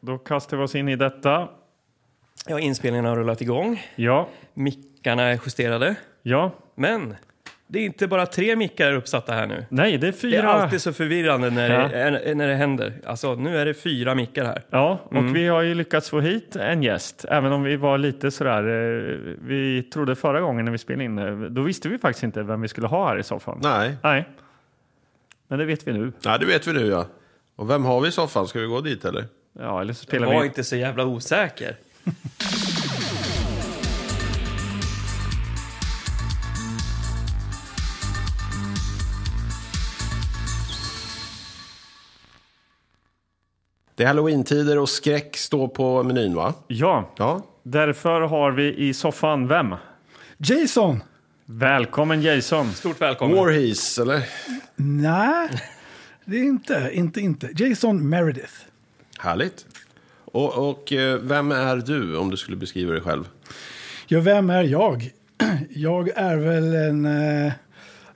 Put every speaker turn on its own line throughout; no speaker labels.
Då kastar vi oss in i detta.
Ja, inspelningen har rullat igång.
Ja,
Mickarna är justerade.
ja.
Men det är inte bara tre mickar uppsatta här nu.
Nej, det är
Det är
fyra.
alltid så förvirrande när,
Ja.
det, när det händer. Alltså, nu är det fyra mickar här.
Ja, och
Mm.
vi har ju lyckats få hit en gäst, även om vi var lite sådär. eh, Vi trodde förra gången när vi spelade in, eh, då visste vi faktiskt inte vem vi skulle ha här i soffan.
Nej.
Nej. Men det vet vi nu.
Nej, det vet vi nu ja. Och vem har vi i soffan? Ska vi gå dit eller?
Ja, eller så spelar
Var
vi.
inte så jävla osäker.
Det är halloween-tider och skräck står på menyn va?
Ja,
Ja.
därför har vi i soffan vem?
Jason?
Välkommen Jason.
Stort välkommen.
Warhees eller?
Nej, det är inte, inte, inte. Jason Meredith.
Härligt. Och, och eh, vem är du om du skulle beskriva dig själv?
Ja, vem är jag? Jag är väl en... eh,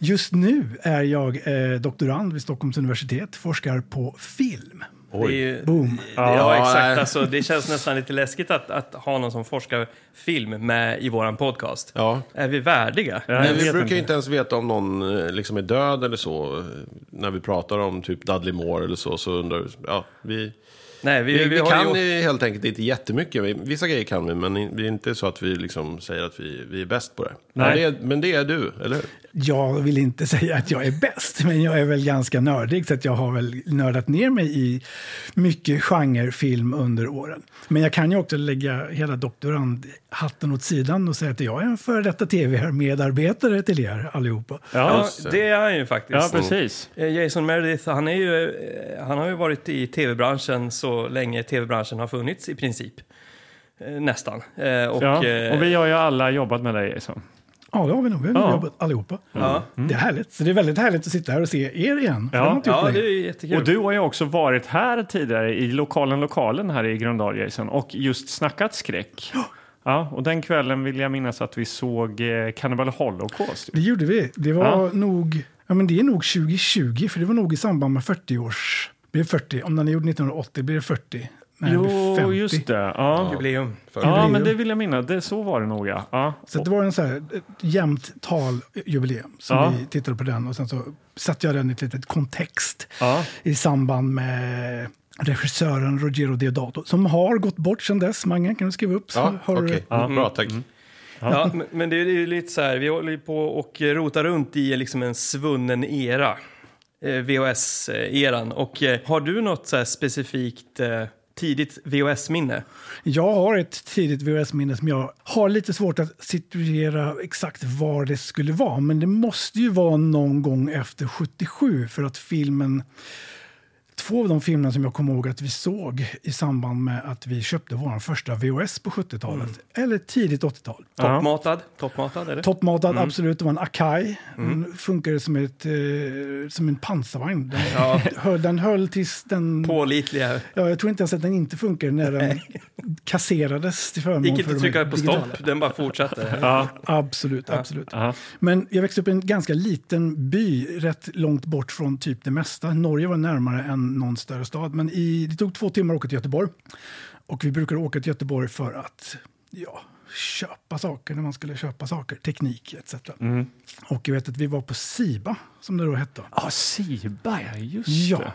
Just nu är jag eh, doktorand vid Stockholms universitet, forskar på film.
Det är ju,
Boom.
Ja,
nej.
exakt. Alltså, det känns nästan lite läskigt att, att ha någon som forskar film med i våran podcast.
Ja.
Är vi värdiga?
Jag
Men vi
vet
brukar ju inte ens veta om någon eh, liksom är död eller så. Eh, När vi pratar om typ Dudley Moore eller så, så undrar ja, vi...
Nej, vi,
Vi,
vi,
vi
har
kan
ju...
ju helt enkelt inte jättemycket. Vi- Vissa grejer kan vi, men i- vi är inte så att vi liksom säger att vi, vi är bäst på det. Men det, är, men det är du, eller hur?
Jag vill inte säga att jag är bäst, men jag är väl ganska nördig så att jag har väl nördat ner mig i mycket genrefilm under åren. Men jag kan ju också lägga hela doktorandhatten åt sidan och säga att jag är en före detta tv-medarbetare till er allihopa.
Ja,
Ja, det är han ju faktiskt.
ja, precis.
Eh, Jason Meredith, han, är ju, eh, han har ju varit i tv-branschen så länge tv-branschen har funnits i princip. Eh, Nästan. Eh, Och,
Ja.
eh,
Och vi har ju alla jobbat med dig Jason.
Ja, det har vi nog. Vi har
Ja.
jobbat allihopa. Mm.
ja,
Det är härligt. Så det är väldigt härligt att sitta här och se er igen. för
Ja.
det har man inte gjort
ja, det
länge.
är ju jättekul.
Och du har ju också varit här tidigare i lokalen lokalen här i Gröndal Jason och just snackat skräck. Ja, och den kvällen vill jag minnas att vi såg eh, Cannibal Holocaust.
det gjorde vi. Det var
Ja.
nog... Ja, men det är nog 2020, för det var nog i samband med 40-års... Blir det 40? Om den är gjord 1980, blir det 40? Nej, det blir 50.
Jo, just det. Ja.
Jubileum.
Ja, men det vill jag minnas. Det, så var det nog ja. ja.
Så det var en så här, ett jämnt tal jubileum. Så
Ja.
vi tittade på den och sen så satte jag den i ett litet kontext
Ja.
i samband med regissören Rogero Deodato som har gått bort sedan dess. Mange, kan du skriva upp? Så
Ja,
har
okej.
du-
Mm. Bra, tack.
Mm. Ja, men- men det är ju lite så här, vi håller ju på och rotar runt i liksom en svunnen era. Eh, VHS-eran. Och eh, har du något så här specifikt eh, tidigt VHS-minne?
Jag har ett tidigt VHS-minne som jag har lite svårt att situera exakt var det skulle vara. Men det måste ju vara någon gång efter 77 för att filmen... Två av de filmerna som jag kommer ihåg att vi såg i samband med att vi köpte vår första VHS på 70-talet. Eller tidigt 80-tal.
Ja.
Toppmatad? Toppmatad, eller?
Toppmatad, absolut. Det var en Akai. Den funkade som, ett, eh, som en pansarvagn. Den, höll, den höll tills den...
Pålitliga.
Ja, jag tror inte ens att den inte funkade när den kasserades till förmån
Gick
för
inte
de
trycka på
digitala.
stopp, den bara fortsatte.
Ja.
Absolut, absolut.
Ja.
Men jag växte upp i en ganska liten by, rätt långt bort från typ det mesta. Norge var närmare än någon större stad, men i, det tog två timmar att åka till Göteborg. Och vi brukade åka till Göteborg för att ja, köpa saker när man skulle köpa saker, teknik etc.
Mm.
Och jag vet att vi var på Siba, som det då hette.
Ja, Siba ja, just
Ja.
det.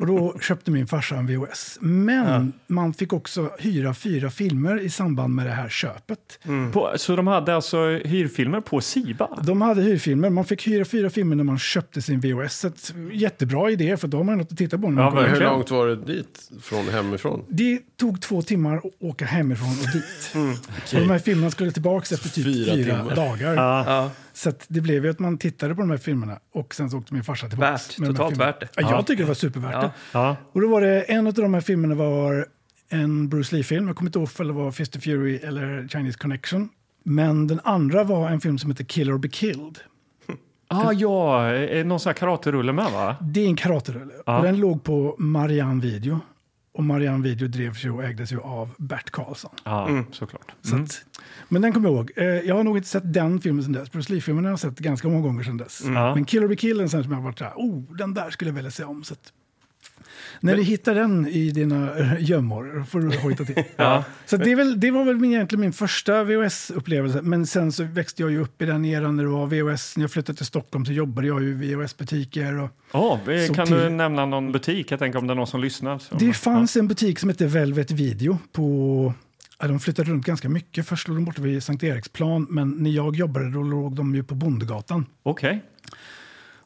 Och då köpte min farsa en VHS. Men man fick också hyra fyra filmer i samband med det här köpet.
Mm.
Mm. På, så de hade alltså hyrfilmer på Siba?
De hade hyrfilmer. Man fick hyra fyra filmer när man köpte sin VHS. Så att, jättebra idé, för då har man något att titta på. När man
Ja,
kommer.
Hur
verkligen.
långt var det dit från hemifrån?
det tog två timmar att åka hemifrån och dit.
Mm.
och de här filmerna skulle tillbaka efter typ
Fyra
fyra,
timmar.
dagar.
Ja.
Så att det blev ju att man tittade på de här filmerna och sen så åkte min farsa tillbaka.
Värt. Totalt värt det.
Ja, jag tycker det var supervärt
Ja.
det.
Ja.
Och då var det, en av de här filmerna var en Bruce Lee-film. Jag kommer inte ihåg om det var Fist of Fury eller Chinese Connection. Men den andra var en film som heter Kill or Be Killed.
Ah, ja, eh, någon sån här karaterulle med va?
Det är en karaterulle. Och Den låg på Marianne Video. Och Marianne Video drevs ju och ägdes ju av Bert Karlsson.
Ja, såklart.
Så att, men den kommer jag ihåg. Eh, Jag har nog inte sett den filmen sedan dess. Bruce Lee-filmen har jag sett ganska
Mm.
många gånger sedan dess. Men Kill or Be Kill är en sån som jag har varit så här, oh, den där skulle jag vilja se om. Så att, När du hittar den i dina eh, gömmor får du hojta till. Så det, är väl, det var väl min, egentligen min första VHS-upplevelse. Men sen så växte jag ju upp i den eran när det var VHS. När jag flyttade till Stockholm så jobbade jag ju i VHS-butiker. Och
Ja, eh,
Så
kan
till-
du nämna någon butik? Jag tänker om det är någon som lyssnar. Så.
det fanns en butik som hette Velvet Video på... Ja, de flyttade runt ganska mycket. Först låg de borta vid Sankt Eriksplan, men när jag jobbade då låg de ju på Bondegatan.
Okej.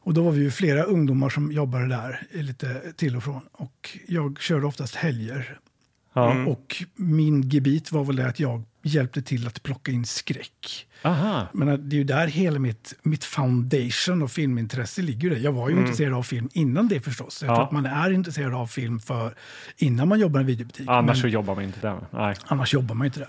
Och då var vi ju flera ungdomar som jobbade där eh, lite till och från. Och jag körde oftast helger.
Ja.
Och min gebit var väl det att jag hjälpte till att plocka in skräck.
Aha.
Men eh, det är ju där hela mitt, mitt foundation och filmintresse ligger. ju där. Jag var ju intresserad av film innan det förstås. Jag
Mm. Ja.
tror att man är intresserad av film för, innan man jobbar i en videobutik.
Annars
Men-
så jobbar man inte där. Nej.
Annars jobbar man ju inte där.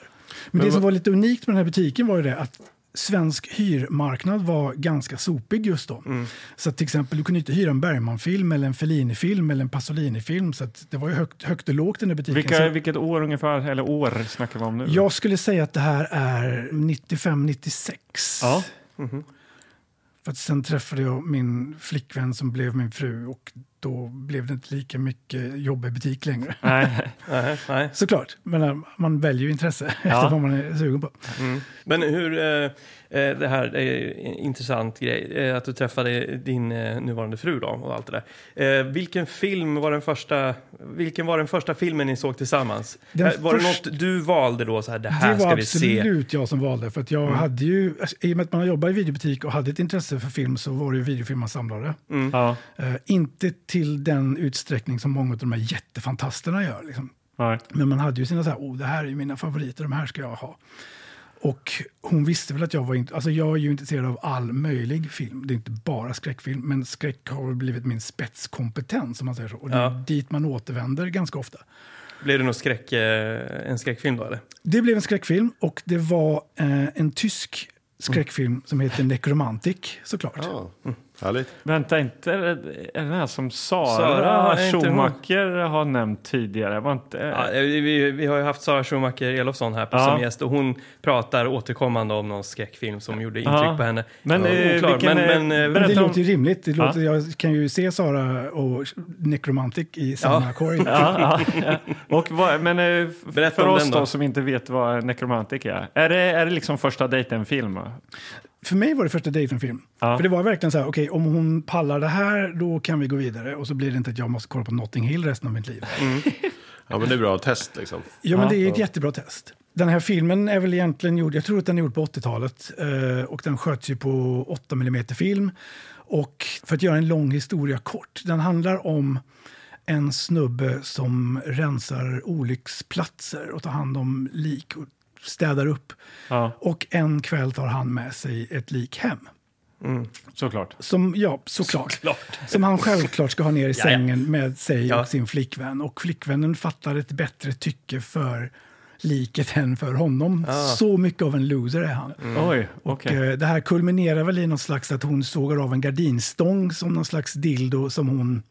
Men, det som var lite unikt med den här butiken var ju det att svensk hyrmarknad var ganska sopig just då.
Mm.
Så att till exempel, du kunde inte hyra en Bergman-film eller en Fellini-film eller en Pasolini-film. Så att det var ju högt, högt och lågt i den här butiken.
Vilka,
så
vilket år ungefär, eller år snackar vi om nu?
jag skulle säga att det här är 95-96.
Ja.
Mhm.
För att sen träffade jag min flickvän som blev min fru och då blev det inte lika mycket jobb i butik längre.
Nej.
Nej, nej.
Såklart, men äh, man väljer ju intresse efter vad man är sugen på.
Mm. Men hur, eh, eh, det här är ju en intressant grej, eh, att du träffade din eh, nuvarande fru då och allt det där. Eh, vilken film var den första, vilken var den första filmen ni såg tillsammans?
Den
Eh, var
först-
det något du valde då, så här, det här
Det var
ska vi se? Mm.
absolut jag som valde. För att jag hade ju, alltså, I och med att man jobbar i videobutik och hade ett intresse för film så var det ju videofilm man samlade.
Mm.
Ja.
Eh, inte till den utsträckning som många av de här jättefantasterna gör. Liksom.
Nej.
Men man hade ju sina så här, oh, det här är ju mina favoriter, de här ska jag ha. Och hon visste väl att jag var inte, alltså jag är ju intresserad av all möjlig film. Det är inte bara skräckfilm, men skräck har väl blivit min spetskompetens om man säger så. Och det är
Ja.
dit man återvänder ganska ofta.
Blev det någon skräck, eh, en skräckfilm då eller?
Det blev en skräckfilm och det var eh, en tysk skräckfilm som heter Necromantic såklart.
Ja, Ah, härligt.
Vänta, inte är det är den här som Sara,
Sara, är inte hon-
Schumacher har nämnt tidigare? Var inte,
Ja, eh, vi, vi har ju haft Sara Schumacher Elofsson här på,
Ja.
som gäst och hon pratar återkommande om någon skräckfilm som gjorde intryck
Ja.
på henne.
Men, eh,
Oklar,
vilken, eh,
men, men, eh,
Men det
Berätta om-
låter ju rimligt. Det
Ja.
låter, Jag kan ju se Sara och Necromantic i samma korg.
Ja, ja, ja. Och vad, men eh, f-
Berätta
för
om
oss
den då.
då som inte vet vad Necromantic är. Är det, är det liksom första dejten-film?
För mig var det första dejtenfilm.
Ja.
För det var verkligen så här, okej om hon pallar det här då kan vi gå vidare. Och så blir det inte att jag måste kolla på Notting Hill resten av mitt liv.
Ja, men det är bra test liksom.
Ja, men det är ett jättebra test. Den här filmen är väl egentligen gjord, jag tror att den är gjord på 80-talet eh, och den sköts ju på 8 mm film. Och för att göra en lång historia kort, den handlar om en snubbe som rensar olycksplatser och tar hand om lik och städar upp.
Ja,
Och en kväll tar han med sig ett lik hem.
såklart.
Som, ja, såklart. Som han självklart ska ha ner i sängen med sig och sin flickvän. Och flickvännen fattar ett bättre tycke för liket än för honom. Så mycket av en loser är han.
Mm.
Mm.
Oj, okej.
Eh, Det här kulminerar väl i något slags att hon sågar av en gardinstång som någon slags dildo som hon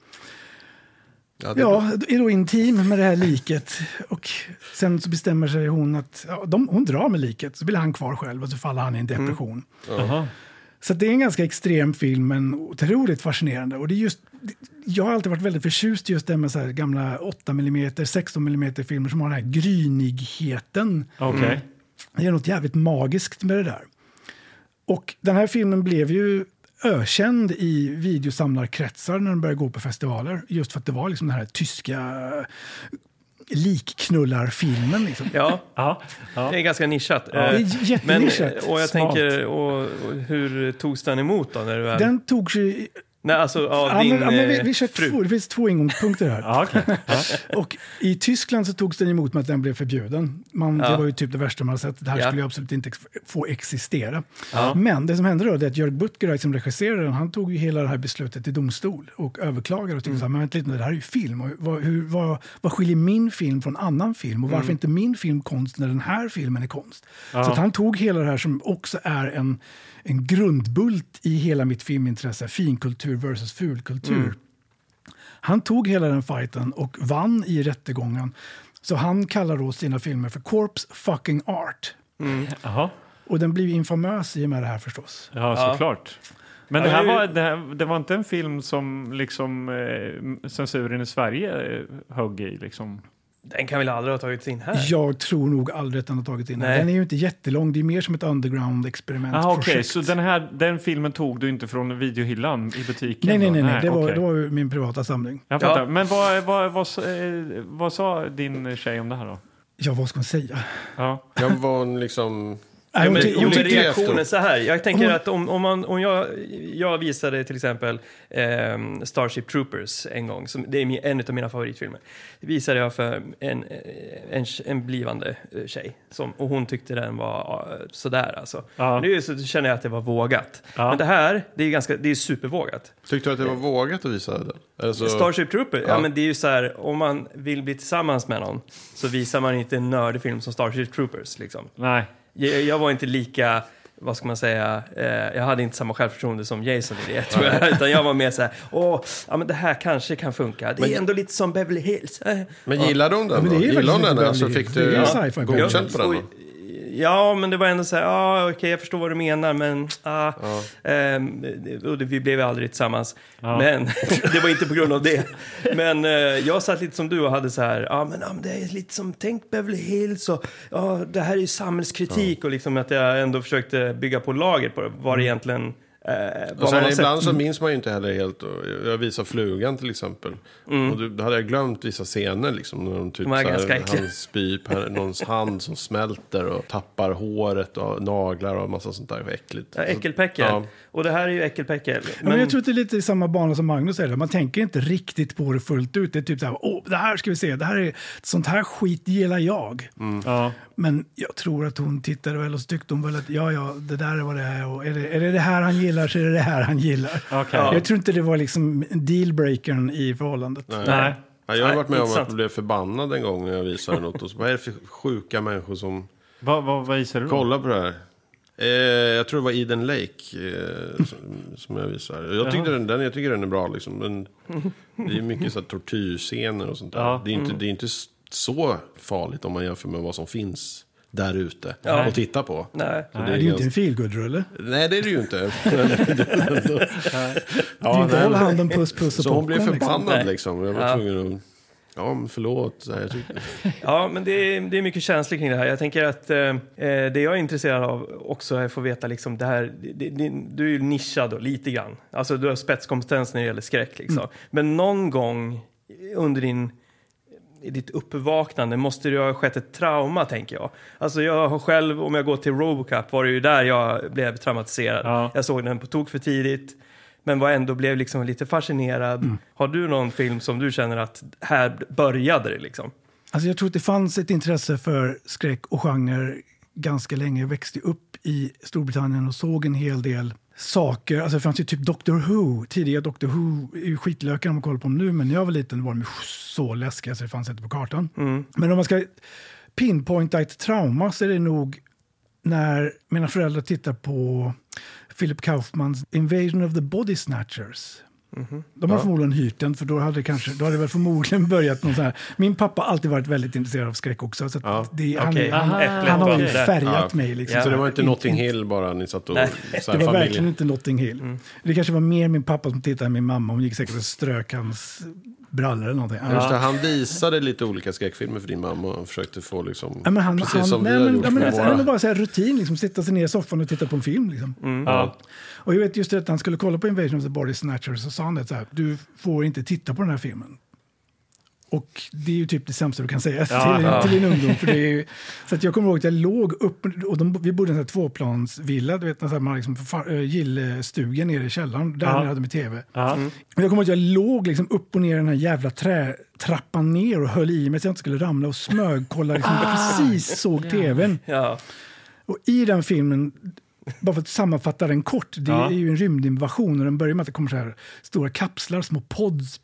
Ja, det är bra.
ja, är då intim med det här liket. Och sen så bestämmer sig hon att ja, de, hon drar med liket, så blir han kvar själv och så faller han i en
Mm.
depression.
eh,
Jaha.
Så att det är en ganska extrem film, men otroligt fascinerande. Och det är just, jag har alltid varit väldigt förtjust i just det med så här gamla 8 mm, 16 mm filmer som har den här grynigheten.
Okej.
mm.
Det är något jävligt magiskt med det där. Och den här filmen blev ju ökänd i videosamlarkretsar när den började gå på festivaler. Just för att det var liksom den här tyska likknullarfilmen. Liksom.
Ja,
Ja, ja.
det är ganska nischat.
Det
Eh,
är jättenischat.
Men, eh, och jag
Smart.
tänker, och, och hur togs den emot då? När du väl...
Den togs ju...
Nej, alltså av
Ja, men,
din
ja, men vi,
eh,
vi kör
fru.
två, det finns två ingångspunkter här.
Ja, okej. Ja.
Och I Tyskland så togs den emot med att den blev förbjuden. Man, Det
Ja.
var ju typ det värsta man har sett. Det här
Ja.
skulle ju absolut inte ex- få existera. Men det som hände då det är att Jörg Butgereit som regisserade den, han tog ju hela det här beslutet till domstol och överklagade och tyckte så här, men vänta lite nu, det här är ju film. Och vad, hur, vad, vad skiljer min film från annan film? Och varför är inte min film konst när den här filmen är konst? Så att han tog hela det här som också är en, en grundbult i hela mitt filmintresse, finkultur versus fulkultur. Han tog hela den fighten och vann i rättegången. Så han kallar då sina filmer för Corpse Fucking Art.
Jaha.
Och den blir ju infamös i och med det här förstås.
Ja, såklart. Men det här var, det här, det var inte en film som liksom, eh, censuren i Sverige eh, högg i? Liksom.
Den kan väl aldrig ha tagits in här?
Jag tror nog aldrig att den har tagit in den.
Nej.
Den är ju inte jättelång, det är mer som ett
Ah, Okej,
underground-experimentprojekt.
så den, här, den filmen tog du inte från videohyllan i butiken?
Nej, nej,
då?
nej, nej. Det, var,
okej.
det var ju min privata samling.
Jag fattar. Men vad, vad, vad, sa- eh, vad sa din tjej om det här då?
Ja, vad ska man säga?
Ja.
Jag var liksom...
Nej,
Jo,
hon
men,
ty-
jo,
hon
men
tyckte-
reaktionen så här. Jag tänker
Hon-
att om, om, man, om jag, jag visade till exempel ehm, Starship Troopers en gång, som, det är min- en av mina favoritfilmer, visade jag för en, eh, en, en blivande eh, tjej som, och hon tyckte den var eh, sådär alltså.
Ja.
Nu så känner jag att det var vågat.
Ja.
Men det här, det är ganska, det är supervågat.
Tyckte du att det var vågat att visa den? Alltså,
Starship Troopers, ja.
Ja.
men det är ju så här, om man vill bli tillsammans med någon så visar man inte en nördig film som Starship Troopers liksom.
Nej.
Jag, jag var inte lika, vad ska man säga, eh, jag hade inte samma självförtroende som Jason i det tror jag. Utan jag var mer så här, åh, ja men det här kanske kan funka. Det är
Men-
ändå lite som Beverly Hills. Eh.
men gillade hon den?
men det
då?
är ju
gillade hon
faktiskt
den? Alltså,
lite
fick
Beverly Hills.
du
Det är
ja,
sci-fi på
godkänt på den?
Och-
Då?
Ja, men det var ändå så här, ja okej, jag förstår vad du menar, men ah, ehm, och det, vi blev aldrig tillsammans. Men det var inte på grund av det. Men eh, jag satt lite som du och hade så här, ja men, ja men det är lite som, tänk Beverly Hills och ja, det här är ju samhällskritik och liksom att jag ändå försökte bygga på lager på det, vad
Mm.
det egentligen, eh,
Och
vad man
sen
har
ibland
sett.
så minns man ju inte heller helt. Och Jag visade Flugan till exempel. Och då- då hade jag glömt vissa scener liksom. När de typ
Mm. De här
så
ganska
här,
äckliga.
han spyr på någons hand som smälter och tappar håret och naglar och massa sånt där äckligt.
Ja, äckelpäckel.
Ja.
Och det här är ju äckelpäckel.
Ja, Men jag tror att det är lite i samma bana som Magnus säger. Man tänker inte riktigt på det fullt ut. Det är typ så här, åh, det här ska vi se, det här är, sånt här skit gillar jag.
Ja.
Men jag tror att hon tittade väl och så tyckte hon väl att ja, ja, det där är vad det är och är det, är det det här han gillar så är det det här han gillar.
Okej.
Ja.
Jag tror inte det var liksom dealbreakern i förhållandet.
Nej.
Ja, jag har
Nej,
varit med om
intressant.
att jag blev förbannad en gång när jag visade något. Och så, vad är det för sjuka människor som
Vad, vad, vad visade du? då?
kollar på det här? Eh, jag tror det var Eden Lake eh, som, som jag visade. Jag, tyckte den, den, jag tycker den är bra liksom. Men det är mycket så här, tortyrscener och sånt där.
Ja.
Det, är inte, det är inte s- så farligt om man jämför med vad som finns där ute och titta på.
Nej.
Så det är
Det är ju inte
ganska-
en feelgood-rulle.
Nej, det är det ju inte.
Det är
ja,
inte
nej,
hålla
men-
handen, puss, puss och
så hon blev
popcorn,
förbannad
Nej.
liksom. Jag var tvungen att... Ja, men förlåt. Så här, jag tyckte,
Ja, men det är, det är mycket känslor kring det här. Jag tänker att eh, eh, det jag är intresserad av också är att få veta liksom det här. Det, det, du är ju nischad då, lite grann. Alltså du har spetskompetens när det gäller skräck liksom. Men någon gång under din i ditt uppvaknande måste det ju ha skett ett trauma, tänker jag. Alltså jag har själv, om jag går till Robocop, var det ju där jag blev traumatiserad.
Ja.
Jag såg den på tok för tidigt, men var ändå blev liksom lite fascinerad. Har du någon film som du känner att här började det liksom?
Alltså jag tror att det fanns ett intresse för skräck och genre ganska länge. Jag växte upp i Storbritannien och såg en hel del saker. Alltså det fanns ju typ Doctor Who. Tidiga Doctor Who är ju skitlökar om man kollar på dem nu, men när jag var liten var de ju så läskiga så det fanns inte på kartan.
Mm.
Men om man ska pinpointa ett trauma så är det nog när mina föräldrar tittar på Philip Kaufmans Invasion of the Body Snatchers.
Mhm.
De har förmodligen hyrt den, för då hade det kanske, då hade det väl förmodligen börjat någon sån här. Min pappa har alltid varit väldigt intresserad av skräck också. Så att det, han,
Okej.
han,
Aha.
han har ju
Äpplet var-
färgat
Ja.
mig. Liksom.
Ja.
Så det var inte
Inte-
Notting Hill bara ni satt och...
Nej.
Så
Det
här,
var
familjen- Mm.
verkligen inte Notting Hill. Det kanske var mer min pappa som tittade än min mamma. Hon gick säkert och strök hans brallor eller någonting.
Just det, han visade lite olika skräckfilmer för din mamma och försökte få liksom...
Ja, men han,
precis
han,
som
nej,
vi har
men,
gjort
ja, men,
med
alltså, nej, men
våra.
bara så här rutin, liksom, sitta sig ner i soffan och titta på en film. Liksom.
Ja.
Och jag vet just det att han skulle kolla på Invasion of the Body Snatchers och sa han det så här, du får inte titta på den här filmen. Och det är ju typ det sämsta du kan säga
Ja,
till,
ja.
till din ungdom. För det är ju, så att jag kommer ihåg att jag låg upp, och de, vi bodde i en sån här tvåplansvilla, du vet, när så här man liksom, far- eh, gillstuga nere i källaren, där
Ja.
nere hade vi tv.
Ja.
Men jag kommer ihåg att jag låg liksom upp och ner i den här jävla trätrappan ner och höll i mig så jag inte skulle ramla och smög, kolla liksom, precis såg tvn.
Ja.
Och i den filmen, bara för att sammanfatta den kort, det
Ja.
är ju en rymdinvasion och den börjar med att det kommer så här stora kapslar, små pods.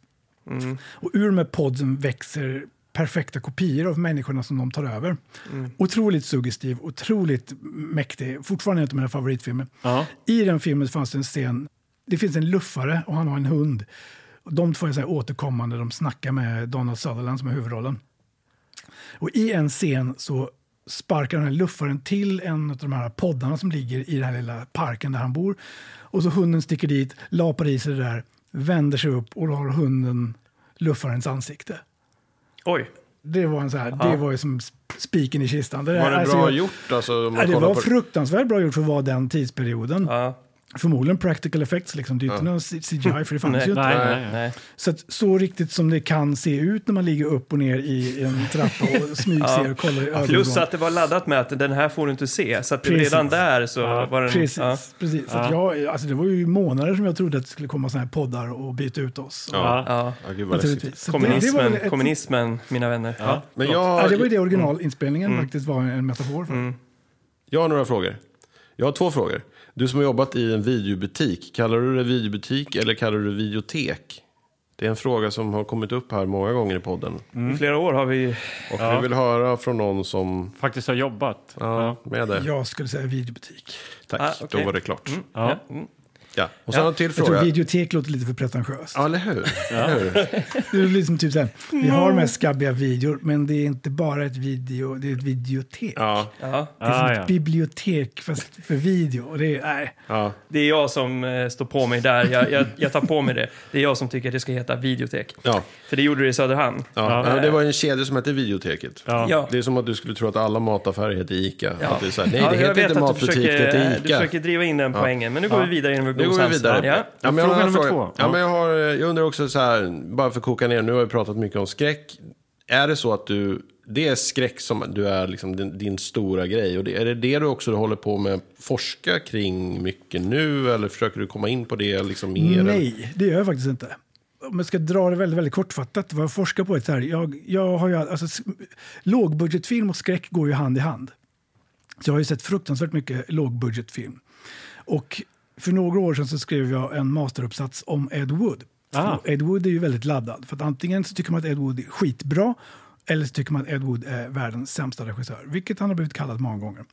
Och ur de här podsen växer perfekta kopior av människorna som de tar över. Otroligt suggestiv, otroligt mäktig, fortfarande en av mina favoritfilmer.
Ja.
I den filmen fanns det en scen, det finns en luffare och han har en hund. Och De två är så här återkommande, de snackar med Donald Sutherland som är huvudrollen. Och i en scen så sparkar den här luffaren till en av de här poddarna som ligger i den här lilla parken där han bor. Och så hunden sticker dit, lapar i sig det där, vänder sig upp och då har hunden luffarens ansikte.
Oj.
Mm.
Det var, en så här, det var ju som spiken i kistan. Det, där-
Var det
alltså,
bra
jag-
gjort alltså? Om man
Nej, det
kollar
var
på
fruktansvärt bra gjort för att vara den tidsperioden.
Ja.
Förmodligen practical effects, liksom. det är ju inte någon CGI för det fanns ju inte.
Nej,
Nej.
nej. nej.
Så, att, så riktigt som det kan se ut när man ligger upp och ner i en trappa och smygser och kollar i ögonen.
Plus att det var laddat med att den här får du inte se. Så att
Precis.
redan där så var den...
Precis,
Ja.
precis. Så Att jag, alltså det var ju månader som jag trodde att det skulle komma sådana här poddar och byta ut oss.
Ja.
Ja.
Ja, gud vad läskigt.
Naturligtvis. Så det-
Kommunismen,
det, var väl ett-
kommunismen, mina vänner. Ja.
Men jag, har-
Ja, det var ju det originalinspelningen
Mm.
faktiskt var en metafor för.
jag har några frågor. Jag har två frågor. Du som har jobbat i en videobutik, kallar du det videobutik eller kallar du det videotek? Det är en fråga som har kommit upp här många gånger i podden.
I flera år har vi...
Och vi vill höra från någon som...
Faktiskt har jobbat.
Ja, med det.
Jag skulle säga videobutik.
Tack,
Ah, okej.
då var det klart.
Ja.
Ja. Mm.
Ja. Och sen en till
Jag tror
fråga.
videotek låter lite för pretentiöst.
Ja, eller hur? Eller hur?
Det är liksom typ så här, vi har de här skabbiga videor, men det är inte bara ett video, det är ett videotek.
Ja,
Ja.
Det är som
Ah,
ett
ja.
bibliotek fast för video. Och det är, nej.
ja.
Det är jag som eh, står på mig där. Jag, jag, jag tar på mig det. Det är jag som tycker att det ska heta videotek.
ja.
För det gjorde det i Söderhamn.
Ja, men det var en kedja som hette Videoteket.
Ja.
Det är som att du skulle tro att alla mataffärer heter Ica.
Ja.
Att det är så här, nej,
Ja,
det
jag
heter
vet
inte
att du
matbutik, det heter
försöker, eh,
Ica.
du försöker driva in den poängen. Men nu går vi vidare genom
Nu går vi vidare.
Ja.
Ja, men jag, har
Fråga
en
nummer
fråga.
två.
Ja,
Ja.
men jag, har, eh, jag undrar också så här, bara för att koka ner, nu har vi pratat mycket om skräck. Är det så att du, det är skräck som du är liksom din, din stora grej? Och det, är det det du också håller på med, forska kring mycket nu? Eller försöker du komma in på det liksom mer? eller?
Nej, det gör jag faktiskt inte. Om jag ska dra det väldigt, väldigt kortfattat, vad jag forskar på är så här. Jag, jag har ju, alltså, s- lågbudgetfilm och skräck går ju hand i hand. Så jag har ju sett fruktansvärt mycket lågbudgetfilm. Och för några år sedan så skrev jag en masteruppsats om Ed Wood.
Ah.
Och Ed Wood är ju väldigt laddad. För att antingen så tycker man att Ed Wood är skitbra eller så tycker man att Ed Wood är världens sämsta regissör, vilket han har blivit kallad många gånger.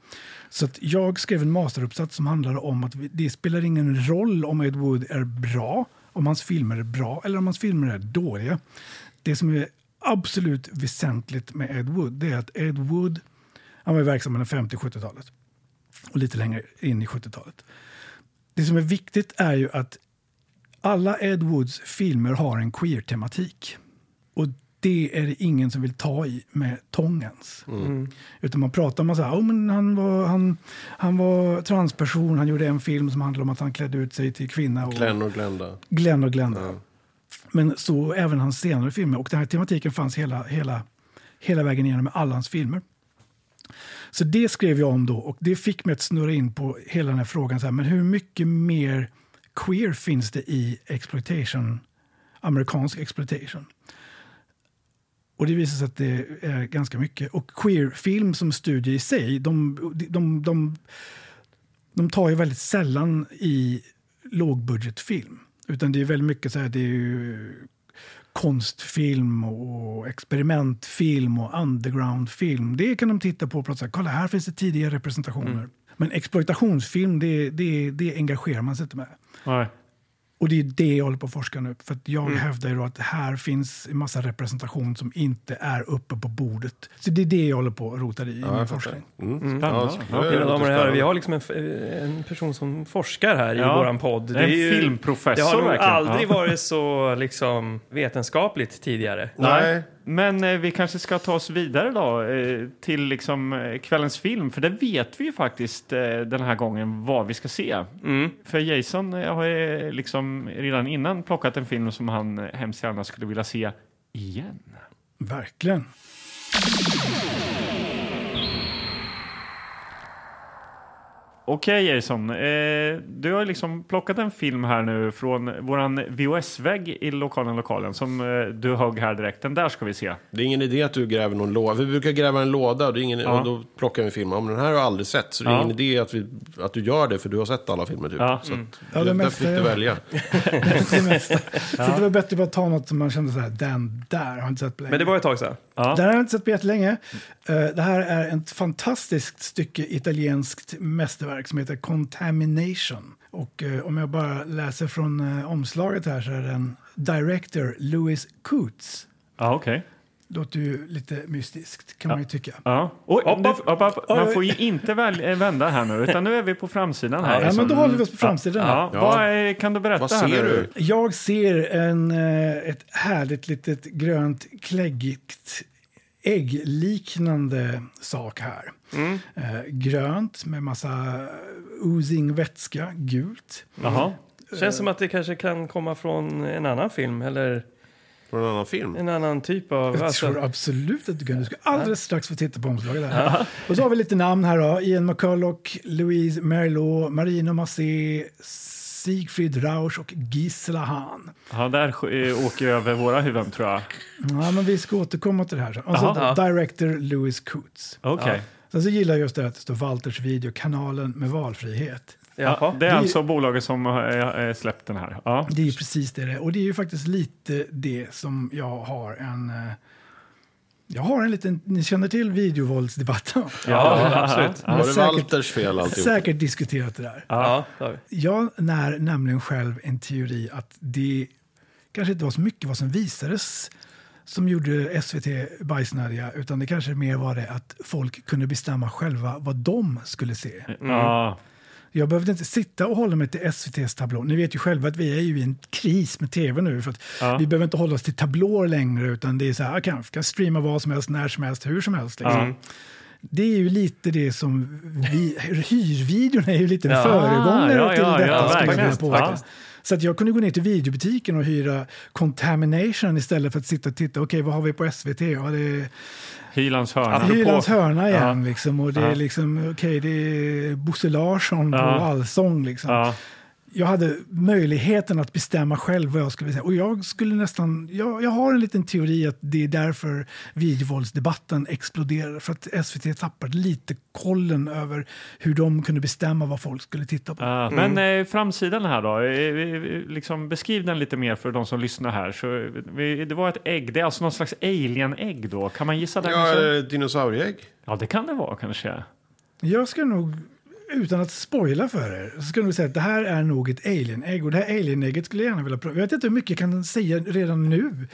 Så att jag skrev en masteruppsats som handlade om att vi- det spelar ingen roll om Ed Wood är bra, om hans filmer är bra eller om hans filmer är dåliga. Det som är absolut väsentligt med Ed Wood det är att Ed Wood han var ju verksam mellan 50 och 70-talet och lite längre in i 70-talet. Det som är viktigt är ju att alla Ed Woods filmer har en queer-tematik. Och det är det ingen som vill ta i med tångens. Utan man pratar om att oh, men han, var, han, han var transperson, han gjorde en film som handlade om att han klädde ut sig till kvinna. Och,
Glenn och Glenda.
Glenn och Glenda. Men så även hans senare filmer. Och den här tematiken fanns hela, hela, hela vägen igenom med alla hans filmer. Så det skrev jag om då och det fick mig att snurra in på hela den här frågan. Så här, men hur mycket mer queer finns det i exploitation, amerikansk exploitation? Och det visar sig att det är ganska mycket. Och queerfilm som studie i sig, de, de, de, de tar ju väldigt sällan i lågbudgetfilm. Utan det är väldigt mycket så här, det är ju konstfilm och experimentfilm och undergroundfilm. Det kan de titta på och prata så här, kolla här finns det tidiga representationer. Men exploitationsfilm, det, det, det engagerar man sig inte med.
Nej.
Och det är det jag håller på att forska nu. För att jag hävdar ju då att här finns en massa representation som inte är uppe på bordet. Så det är det jag håller på och rotar i i min forskning.
Mm.
Spännande.
så-
Ja.
det är
Mina damer och herrar, vi
spännande.
har liksom en, f- en person som forskar här i
Ja.
våran podd.
En filmprofessor,
Det har nog
verkligen.
aldrig
Ja.
varit så liksom, vetenskapligt tidigare.
Nej.
Men eh, vi kanske ska ta oss vidare då eh, till liksom, eh, kvällens film. För det vet vi ju faktiskt eh, den här gången vad vi ska se. För Jason eh, har eh, liksom redan innan plockat en film som han eh, hemskt gärna skulle vilja se igen.
Verkligen.
Okej Jason, eh, du har liksom plockat en film här nu från våran VHS-vägg i lokalen lokalen som eh, du högg här direkt. Den där ska vi se.
Det är ingen idé att du gräver någon låda. Vi brukar gräva en låda och, det är ingen, och då plockar vi filmer. Men den här har jag aldrig sett. Så det är
Ja.
ingen idé att, vi, att du gör det för du har sett alla filmer typ.
Ja.
Så att,
Ja, det
där
mesta
fick du
jag-
välja.
det mesta. Så det var bättre att ta något som man kände så här, den där har jag inte sett på länge.
Men det var ett tag sedan.
Ja.
Den har jag inte sett på jättelänge. Eh, det här är ett fantastiskt stycke italienskt mästerverk som heter Contamination. Och eh, om jag bara läser från eh, omslaget här så är den director Louis Coates
Ja, okej.
Låter ju lite mystiskt kan man ju tycka.
Ja. Oj,
Hopp,
nu,
hopp.
hopp, hopp.
Oj,
Man
oj.
får ju inte väl, eh, vända här nu, utan nu är vi på framsidan här. liksom.
Ja, men då håller vi oss på framsidan. här.
Ja,
Ja.
Vad eh, kan du berätta
Vad
här
ser
nu?
du?
Jag ser en, eh, ett härligt litet grönt kläggigt äggliknande sak här. Eh, Grönt med massa oozing vätska, gult.
Jaha.
Känns som att det kanske kan komma från en annan film eller
Från en annan film?
en annan typ av...
Jag tror
Alltså,
absolut att du kan. Du ska alldeles strax få titta på omslaget. Där. Och så har vi lite namn här då. Ian McCulloch, Louise Merlot, Marino Massé, Siegfried Rausch och Gisela Hahn.
Ja, där eh, åker jag över våra huvuden tror jag.
Ja, men vi ska återkomma till det här sen. Och
Jaha.
så director Louis Coates.
Okej.
Sen så gillar jag just det här att det står Walters video, kanalen med valfrihet.
Ja,
jaha.
det är
Det-
alltså bolaget som har eh, eh, släppt den här. Ja.
Det är ju precis det det är. Och det är ju faktiskt lite det som jag har en... eh, Jag har en liten... Ni känner till videovåldsdebatten?
Ja, absolut.
Men
Var det
säkert-
Walters fel alltihop?
Säkert diskuterat det där.
Ja, det har vi.
Jag när nämligen själv en teori att det kanske inte var så mycket vad som visades som gjorde SVT bajsnödiga, utan det kanske mer var det att folk kunde bestämma själva vad de skulle se.
Ja.
Jag behövde inte sitta och hålla mig till SVTs tablå. Ni vet ju själva att vi är ju i en kris med tv nu. För att
Ja.
Vi behöver inte hålla oss till tablåer längre, utan det är så här, kan, kan streama vad som helst, när som helst, hur som helst. Liksom. Det är ju lite det som vi, hyrvideon är ju lite en
Ja.
föregångare
Ja, ja,
till detta.
ja,
skulle jag
verkligen,
vilja påstå.
faktiskt.
Så att jag kunde gå ner till videobutiken och hyra Contamination istället för att sitta och titta. Okej, vad har vi på SVT? Ja, det är
Hylands hörna.
Apropå-
Hylands hörna igen.
Ja.
Liksom, och det är
Ja.
liksom, okej, det är Bosse Larsson på
Ja.
allsång. Liksom
Ja.
jag hade möjligheten att bestämma själv vad jag skulle säga. Och jag skulle nästan, jag, jag har en liten teori att det är därför videovåldsdebatten exploderar. För att SVT tappade lite kollen över hur de kunde bestämma vad folk skulle titta på.
Ja, Men eh, framsidan här då, eh, eh, liksom beskriv den lite mer för de som lyssnar här. Så, eh, vi- det var ett ägg, det är alltså någon slags alien-ägg då, kan man gissa det?
Ja, eh.
kanske?
eller dinosaurieägg.
ja det kan det vara kanske.
Jag ska nog, utan att spoila för er, så ska jag nog säga att det här är nog ett alien-ägg. Och det här alien-ägget skulle jag gärna vilja prova. Jag vet inte hur mycket jag kan säga redan nu.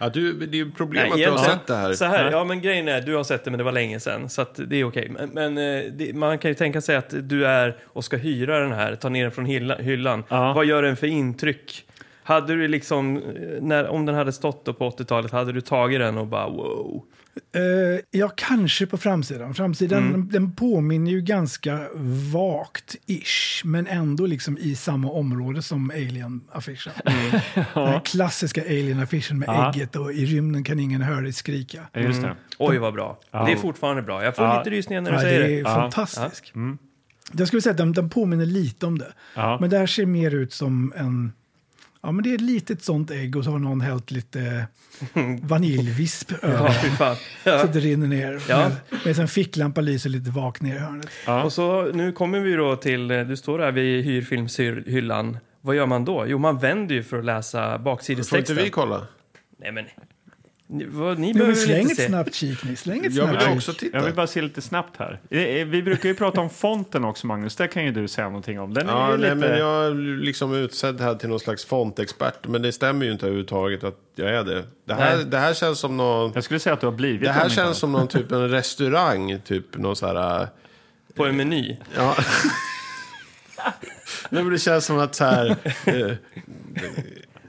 Ja, du, det är ju problem
Nej,
att du har
egentligen-
sett det här.
Så här, ja men grejen är, du har sett det men det var länge sedan så att det är okej. Men, men eh, det, man kan ju tänka sig att du är och ska hyra den här, ta ner den från hylla, hyllan.
Ja.
Vad gör den för intryck? Hade du liksom, eh, när, om den hade stått då på 80-talet, hade du tagit den och bara wow?
Eh, ja, kanske på framsidan. Framsidan den påminner ju ganska vagt-ish, men ändå liksom i samma område som Alien-affischen. Den här klassiska Alien-affischen med
Ja.
ägget och i rymden kan ingen höra dig skrika.
Ja, Just det.
Oj vad bra. Det är fortfarande bra. Jag får
Ja.
lite rysningar när du
Ja,
säger
det
det.
är
Ja.
fantastisk. Jag skulle säga att den, den påminner lite om det.
Ja.
Men det här ser mer ut som en... Ja, men det är ett litet sånt ägg och så har någon hällt lite vaniljvisp
Ja,
över.
fy fan. Ja.
Så det rinner ner.
Ja.
Med, med en ficklampa lyser lite vagt ner i hörnet.
Ja.
Och så nu kommer vi då till, eh, du står där vid hyrfilmshyllan. Vad gör man då? Jo, man vänder ju för att läsa
Får inte
baksidestexten.
vi kolla?
Nej men, ni, vad, ni
Jo,
behöver
men
väl
släng
inte
ett
se?
snabbt kik nu. Släng ett
Jag
snabbt
vill
kik.
också
Jag
titta.
vill bara se lite snabbt här. Eh, eh, Vi brukar ju prata om fonten också, Magnus. Det kan ju du säga någonting om. Den är
Ja,
ju
nej,
lite...
men jag är liksom utsedd här till någon slags fontexpert. Men det stämmer ju inte överhuvudtaget att jag är det. Det här,
Nej.
det här känns som någon...
Jag skulle säga att du har blivit
Det
om
här
inte annat.
känns som någon typ en restaurang, typ någon så här... äh,
På en meny?
Ja. Nej, men det känns som att så här, eh,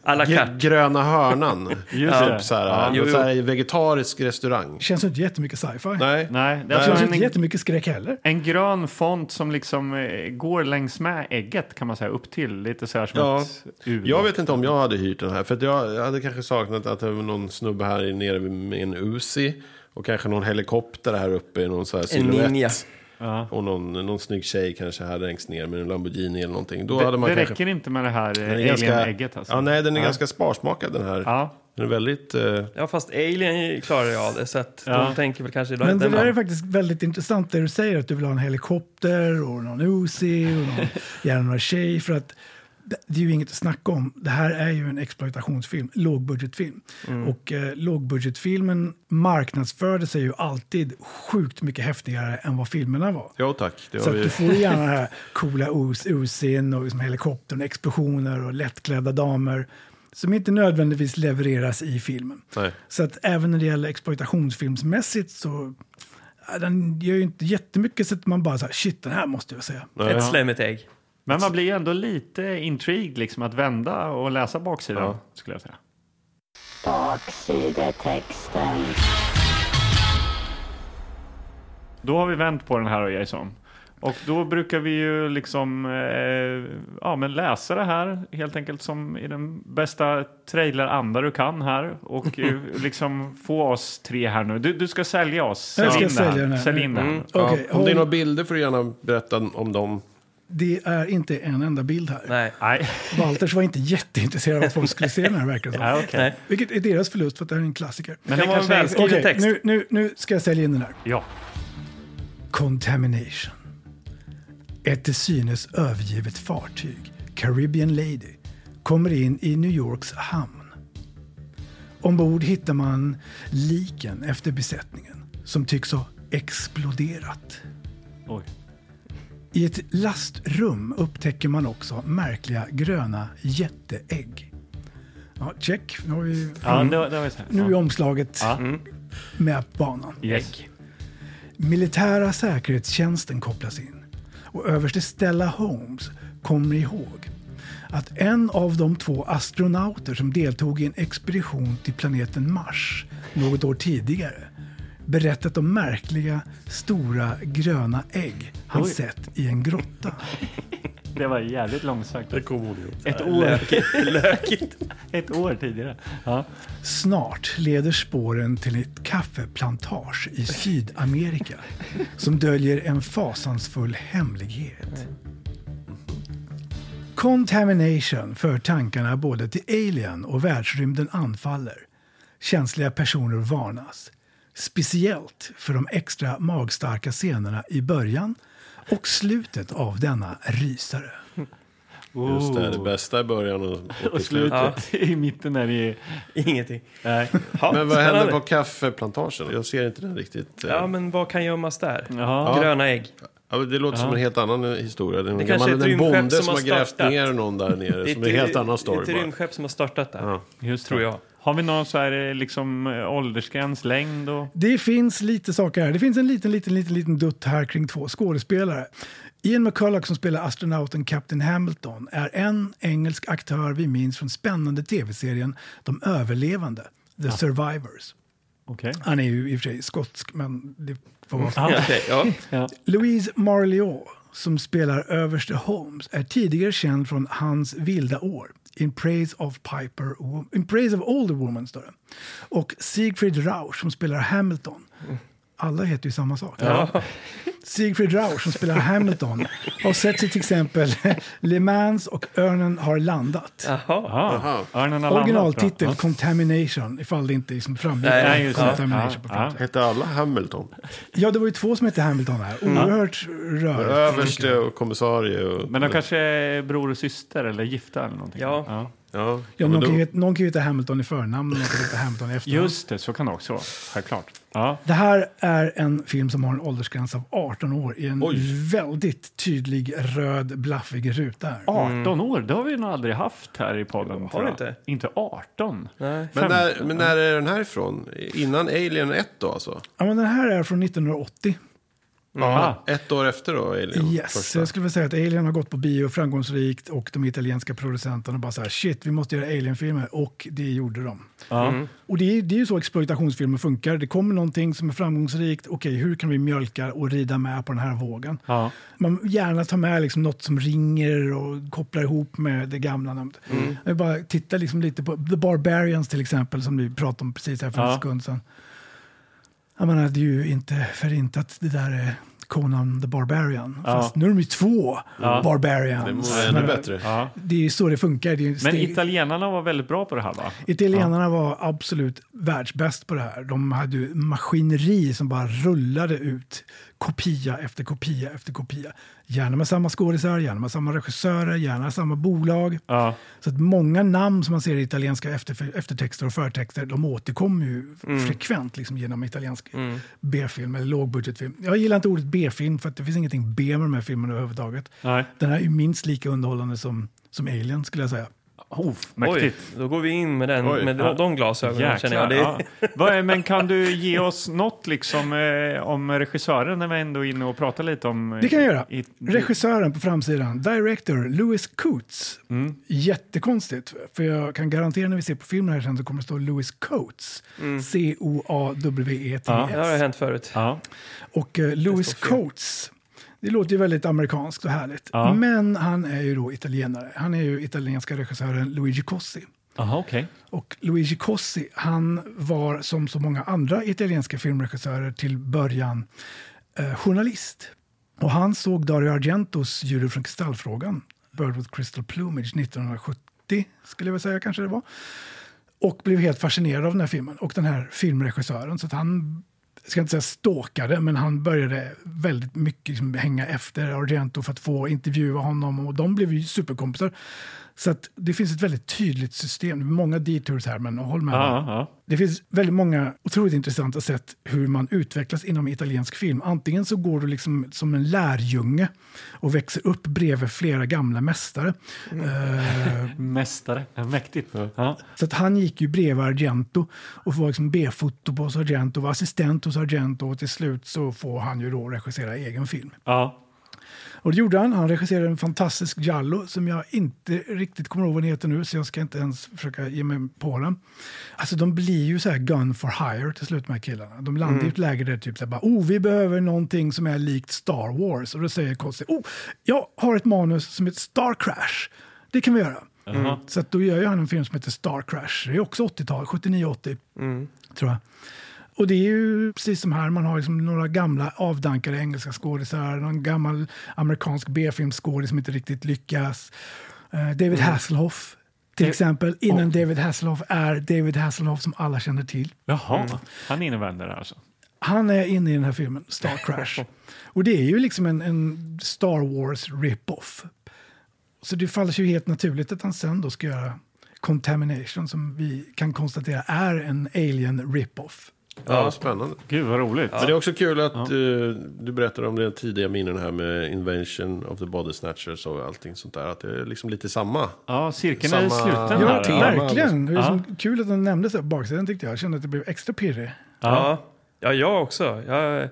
À la
gr-
carte?
gröna hörnan.
Just
typ
det.
så här,
Ja.
någon
Jo, jo.
så här vegetarisk restaurang.
Känns inte jättemycket sci-fi.
Nej.
Nej, det är
Nej.
alltså
Känns
en,
inte jättemycket skräck heller.
en grön font som liksom eh, går längs med ägget kan man säga, upp till. Lite så här som
Ja.
ett U.
Jag vet inte om jag hade hyrt den här. För att jag, jag hade kanske saknat att det var någon snubbe här nere med en Uzi. Och kanske någon helikopter här uppe i någon så här
En
silhuett.
ninja?
Och någon, någon snygg tjej kanske här längst ner med en Lamborghini eller någonting. Då
det
hade man
det
kanske...
räcker inte med det här eh,
Den är ganska-
alien-ägget. Alltså.
Ja, nej, den är ganska sparsmakad den här.
Ja.
Den är väldigt... eh,
Ja, fast Alien klarar ju av det, så att
Ja.
de tänker väl kanske...
Men det
den
där är
man-
faktiskt väldigt intressant det du säger att du vill ha en helikopter och någon Uzi och någon, gärna någon tjej för att det det är ju inget att snacka om. Det här är ju en exploitationsfilm, lågbudgetfilm.
Mm.
Och eh, lågbudgetfilmen marknadsförde sig ju alltid sjukt mycket häftigare än vad filmerna var.
Ja tack, det
Så
har
att
vi
du får gärna den här coola Uzin och liksom helikoptern, explosioner och lättklädda damer. som inte nödvändigtvis levereras i filmen.
Nej.
Så att även när det gäller exploitationsfilmsmässigt så ja, den gör ju inte jättemycket så att man bara så här, shit den här måste jag säga.
Ja,
Ett
ja.
slem, ett ägg.
Men man blir ju ändå lite intrigued liksom att vända och läsa baksidan
Ja.
skulle jag säga.
Baksidetexten.
Då har vi vänt på den här och Jason. Och då brukar vi ju liksom eh, ja, men läsa det här helt enkelt som i den bästa traileranda du kan här. Och eh, liksom få oss tre här nu. Du, du ska sälja oss.
Jag ska
in det här.
sälja den här.
Sälj in det här.
Mm.
Ja,
Okej,
om det är
håll-
några bilder får du gärna berätta om dem.
Det är inte en enda bild här.
Nej.
Nej,
Walters var inte jätteintresserad av att folk skulle se den här verkar det som.
ja, okej.
Nej.
Vilket är deras förlust för att det här är en klassiker.
Men det
Det kan vara
kanske är...
välskriven
Okej,
text.
nu, nu, nu ska jag sälja in den här.
Ja.
Contamination. Ett till synes övergivet fartyg, Caribbean Lady, kommer in i New Yorks hamn. Ombord hittar man liken efter besättningen som tycks ha exploderat.
Oj.
I ett lastrum upptäcker man också märkliga gröna jätteägg. Ja, check. Nu har vi,
Ja, det, var- det var ju så här.
nu är omslaget
Ja. Mm.
med på banan.
Yes.
Militära säkerhetstjänsten kopplas in och överste Stella Holmes kommer ihåg att en av de två astronauter som deltog i en expedition till planeten Mars något år tidigare berättat om märkliga stora gröna ägg han
Oj.
sett i en grotta.
Det var jävligt långsökt. Ett år,
Lökigt. Lökigt.
ett år tidigare. Ja.
Snart leder spåren till ett kaffeplantage i Sydamerika som döljer en fasansfull hemlighet. Contamination för tankarna både till Alien och världsrymden anfaller. Känsliga personer varnas. Speciellt för de extra magstarka scenerna i början och slutet av denna rysare.
Just det, det
Oh.
bästa i början och, och,
Och
till slut.
slutet i mitten när vi...
Ingenting.
Nej.
Ja,
Men vad händer på
spännande.
kaffeplantagen? Jag ser inte den riktigt. eh.
Ja, men vad kan gömmas där?
Jaha.
Gröna ägg.
Ja, men det låter som en helt annan eh, historia. Det är någon
kanske är
gammal,
ett
en
rymdskepp
bonde
som
som
har
har grävt
startat.
ner någon där nere. som är en helt annan
Det
story
är ett
bara.
rymdskepp som har startat där.
Ja.
Just
Tror
det.
jag.
Har vi någon så här eh, liksom eh, åldersgräns, längd och...
Det finns lite saker här. Det finns en liten, liten, liten, liten dutt här kring två skådespelare. Ian McCulloch som spelar astronauten Captain Hamilton är en engelsk aktör vi minns från spännande tv-serien De överlevande, The Survivors.
Okej.
Han är ju i och för sig skotsk, men det får vara
Ja, okej, ja.
Ah.
Louise Marliot, som spelar överste Holmes, är tidigare känd från hans vilda år. In Praise of Piper, Wo- In Praise of Older Woman står det. Och Siegfried Rausch som spelar Hamilton. Alla heter ju samma sak. Siegfried Rausch som spelar Hamilton har sett sig till exempel Le Mans och Örnen har landat.
Jaha.
Aha. Örnen har landat,
Originaltitel
bra.
Contamination, ifall det inte liksom framgick.
Nej,
Nej, just det.
Contamination
Ja,
på
ja.
framsidan.
Hette alla Hamilton?
ja, det var ju två som hette Hamilton här.
Mm.
Oerhört rörigt.
Överste och kommissarie och...
Men de kanske är bror och syster eller gifta eller någonting.
Ja.
Ja,
Ja,
men
någon, kan ju,
då,
heta- någon kan ju heta Hamilton i förnamn och någon kan heta Hamilton i efternamn.
Just det, så kan det också vara. Självklart. Ja.
Det här är en film som har en åldersgräns av 18 år i en
Oj.
väldigt tydlig röd blaffig ruta. Här.
18 år, det har vi nog aldrig haft här i podden. tror jag.
Mm. inte?
Inte 18.
Nej.
men, när, men när är den här ifrån? Innan Alien 1 då alltså?
Ja, men den här är från 1980.
Ja.
Ett år efter då Alien?
Yes, så
första.
jag skulle vilja säga att Alien har gått på bio framgångsrikt och de italienska producenterna bara så här shit, vi måste göra Alien-filmer och det gjorde de.
Ja.
Och det är, det är ju så exploitationsfilmer funkar. Det kommer någonting som är framgångsrikt. Okej, hur kan vi mjölka och rida med på den här vågen?
Ja.
man gärna tar med liksom något som ringer och kopplar ihop med det gamla namnet. Jag vill bara titta liksom lite på The Barbarians till exempel som vi pratade om precis här för
Ja.
en sekund sedan. Jag menar, det är ju inte förintat det där är Conan the Barbarian.
Ja.
Fast nu är de ju två
Ja.
Det
Barbarians.
vore
Jag
ännu
menar,
bättre.
Ja.
Det är ju så det funkar. Det är ju
Men
steg-
italienarna var väldigt bra på det här va?
Italienarna var absolut världsbäst på det här. De hade ju maskineri som bara rullade ut kopia efter kopia efter kopia. Gärna med samma skådisar, gärna med samma regissörer, gärna samma bolag.
Ja.
Så att många namn som man ser i italienska efter, eftertexter och förtexter, de återkommer ju frekvent liksom, genom italiensk B-film eller lågbudgetfilm. Jag gillar inte ordet B-film för att det finns ingenting B med de här filmerna överhuvudtaget.
Nej.
Den här är ju minst lika underhållande som, som Alien skulle jag säga.
Oh,
Oj,
mäktigt.
då går vi in med, den,
Oj.
med de, de glasögonen känner jag.
Jäklar.
Det,
Ja. Vad är- Men kan du ge oss något liksom, eh, om regissören när vi ändå är inne och pratar lite om... eh,
Det kan jag göra.
i-
Regissören på framsidan, director Louis Coates.
Mm.
Jättekonstigt, för jag kan garantera när vi ser på filmen här sen så kommer det stå Louis Coates. C-O-A-W-E-T-S.
Mm. det har ju hänt förut.
Ja.
E Och eh, Louis
står fel.
Coates, det låter ju väldigt amerikanskt och härligt.
Ja.
Men han är ju då italienare. Han är ju italienska regissören Luigi Cosi.
Aha, okej.
Och Luigi Cosi, han var som så många andra italienska filmregissörer till början eh, journalist. Och han såg Dario Argentos Judo från Kristallfrågan, Bird with Crystal Plumage, 1970 skulle jag väl säga kanske det var. Och blev helt fascinerad av den här filmen och den här filmregissören. Så att han, jag ska inte säga stalkade, men han började väldigt mycket liksom hänga efter Argento för att få intervjua honom och de blev ju superkompisar. Så att det finns ett väldigt tydligt system. Det är Många detours här, men håll med.
Ja, ja.
Det finns väldigt många otroligt intressanta sätt hur man utvecklas inom italiensk film. Antingen så går du liksom som en lärjunge och växer upp bredvid flera gamla mästare. Eh,
Mästare. Ja, Mäktigt. Ja.
så att han gick ju bredvid Argento och var liksom B-foto på Argento, var assistent hos Argento och till slut så får han ju då regissera egen film.
Ja.
Och det gjorde han. Han regisserade en fantastisk Giallo som jag inte riktigt kommer ihåg vad den heter nu så jag ska inte ens försöka ge mig på den. Alltså de blir ju så här gun for hire till slut de här killarna. De landar i ett läge där typ så här bara, oh vi behöver någonting som är likt Star Wars. Och då säger Kossi, oh jag har ett manus som heter Star Crash. Det kan vi göra.
Mm.
Så att då gör ju han en film som heter Star Crash. Det är också 80-tal, 79-80 tror jag. Och det är ju precis som här, man har liksom några gamla avdankade engelska skådisar, någon gammal amerikansk B-filmsskådis som inte riktigt lyckas. Eh, David Hasselhoff till exempel, innan David Hasselhoff är David Hasselhoff som alla känner till.
Jaha, Mm. han innevänder det alltså.
Han är inne i den här filmen, Star Crash. Och det är ju liksom en, en Star Wars rip-off. Så det faller sig ju helt naturligt att han sen då ska göra Contamination som vi kan konstatera är en alien rip-off.
Ja, vad spännande.
Gud vad roligt.
Men det är också kul att eh, du berättar om dina tidiga minnen här med Invention of the Body Snatchers och allting sånt där. Att det är liksom lite samma.
Ja, cirkeln är
Samma-
sluten
Ja,
här.
tema.
eller?
verkligen. Det är
Ja.
liksom kul att den nämndes på baksidan tyckte jag. Jag kände att det blev extra pirrig.
Ja.
Ja. ja, jag också. Jag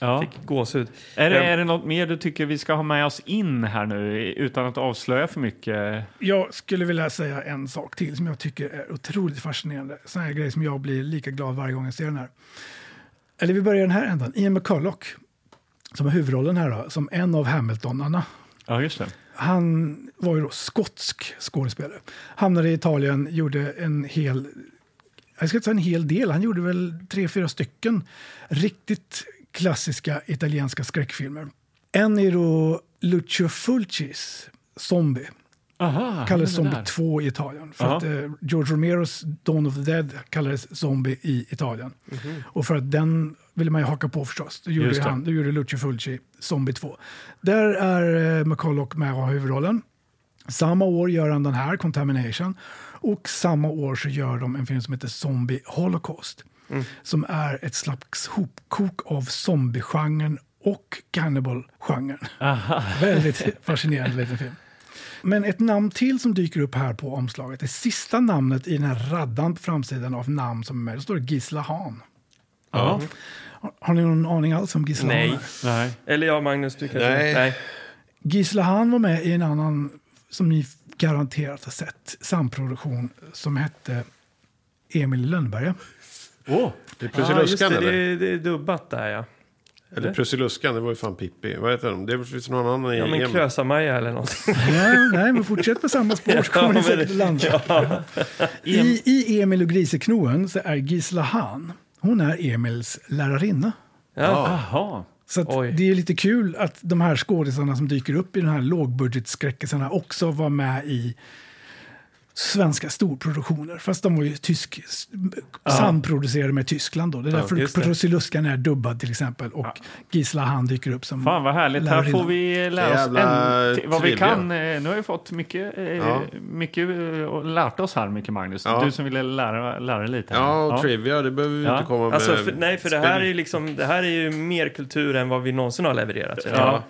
Ja.
fick gåshud.
Är, det, är det något mer du tycker vi ska ha med oss in här nu i- utan att avslöja för mycket?
Jag skulle vilja säga en sak till som jag tycker är otroligt fascinerande. Sån här grej som jag blir lika glad varje gång jag ser den här. Eller vi börjar i den här ändan. Ian McCulloch, som har huvudrollen här då, som en av Hamiltonarna.
Ja, just det.
Han var ju då skotsk skådespelare. Hamnade i Italien, gjorde en hel, jag ska inte säga en hel del, han gjorde väl tre, fyra stycken riktigt klassiska italienska skräckfilmer. En är då Lucio Fulcis Zombie,
Aha,
kallades
den Ah, är
Zombie
där.
2 i Italien. För
Ja.
att eh, George Romeros Dawn of the Dead kallades Zombie i Italien. Och för att den ville man ju haka på förstås. Då gjorde,
Mhm. Just det.
han, då gjorde Lucio Fulci Zombie 2. Där är eh, McCulloch med och har huvudrollen. Samma år gör han den här, Contamination. Och samma år så gör de en film som heter Zombie Holocaust. Som är ett slags hopkok av zombiegenren och cannibal-genren. Väldigt fascinerande liten film. Men ett namn till som dyker upp här på omslaget, det sista namnet i den här raddan på framsidan av namn som är med, då står det Gisla Hahn.
Ja.
Har- Har ni någon aning alls om Gisla Hahn?
Nej.
är?
Nej.
Eller jag Magnus, du kanske?
Nej.
Gisla Hahn var med i en annan, som ni garanterat har sett, samproduktion som hette Emil i Lönnberga.
Åh,
Det är
Ja, just
Prussiluskan
det,
eller?
det, är- det är dubbat där ja.
Eller Prussiluskan, det var ju fan Pippi. Vad heter de? Det finns någon annan i
Ja, men
EM.
Klösa-Maja eller något.
Nej, nej, men fortsätt på samma spår så kommer ni
men-
säkert att landa. I, I Emil och griseknoen så är Gisla Hahn, hon är Emils lärarinna.
Ja.
aha.
Så att
Oj.
det är lite kul att de här skådisarna som dyker upp i de här lågbudgetskräckisarna också var med i svenska storproduktioner. Fast de var ju tysk, samproducerade med Tyskland då. Det är
just
därför
det.
Prussiluskan är dubbad till exempel och Gisla Han dyker upp som...
Fan vad härligt. Här
Lärarinna.
får vi lära oss
Jävla
en, till- vad vi
trivia.
kan. Eh, Nu har vi fått mycket, eh,
Ja.
mycket eh, och lärt oss här, mycket Magnus.
Ja.
Du som ville lära, lära dig lite. här.
Ja, och trivia, det behöver vi
Ja.
inte komma med.
Alltså, för, Alltså, nej, för det här,
eh, Spel-
är ju liksom, det här är ju mer kultur än vad vi någonsin har levererat.
Ja.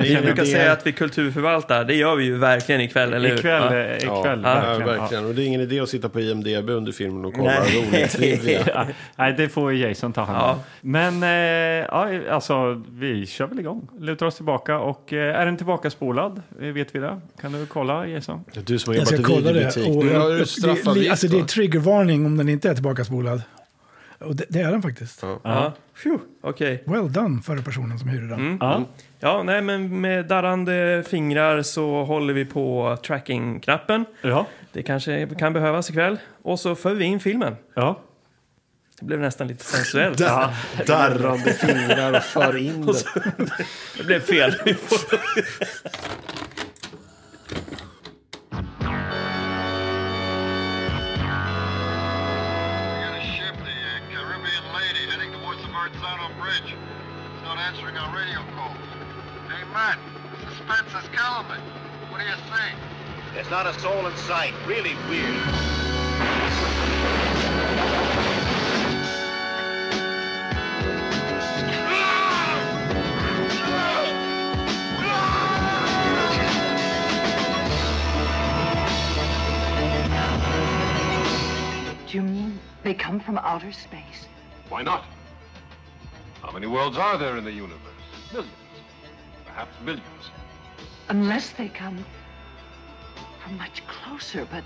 Vi
känner
brukar
jag.
säga att vi kulturförvaltar. Det gör vi ju verkligen ikväll, eller hur?
Ikväll,
Ja.
eh, ikväll
ja,
verkligen.
verkligen.
Ja.
Och det är ingen idé att sitta på IMDB under filmen och kolla
Nej.
rolig trivia.
Ja, nej, det får ju Jason ta hand om.
Ja.
Men eh, ja, alltså, vi kör väl igång. Lutar oss tillbaka och eh, är den tillbaka spolad? Eh, Vet vi det? Kan du kolla Jason?
Du som har
Jag
jobbat
ska
i
kolla det.
videobutik,
Mm.
nu har
jag-
du
det,
straffavgift
li- alltså, det är
va?
triggervarning om den inte är tillbakaspolad. Och det, det är den faktiskt.
Ja. Phew, Okej.
Well done för personen som hyrde den.
Ja.
Ja, nej, men med darrande fingrar så håller vi på tracking-knappen.
Ja.
Det kanske kan behövas ikväll. Och så för vi in filmen.
ja.
Det blev nästan lite sensuellt.
Dar- Darrande fingrar och för in det.
Det blev fel.
We got a ship, the uh, Caribbean Lady, heading towards the Marzano Bridge. It's not answering our radio calls. Hey, Matt, the suspense is killing me. What do you think?
There's not a soul in sight. Really weird.
Do you mean they come from outer space?
Why not? How many worlds are there in the universe? Millions. Perhaps billions.
Unless they come from much closer, but.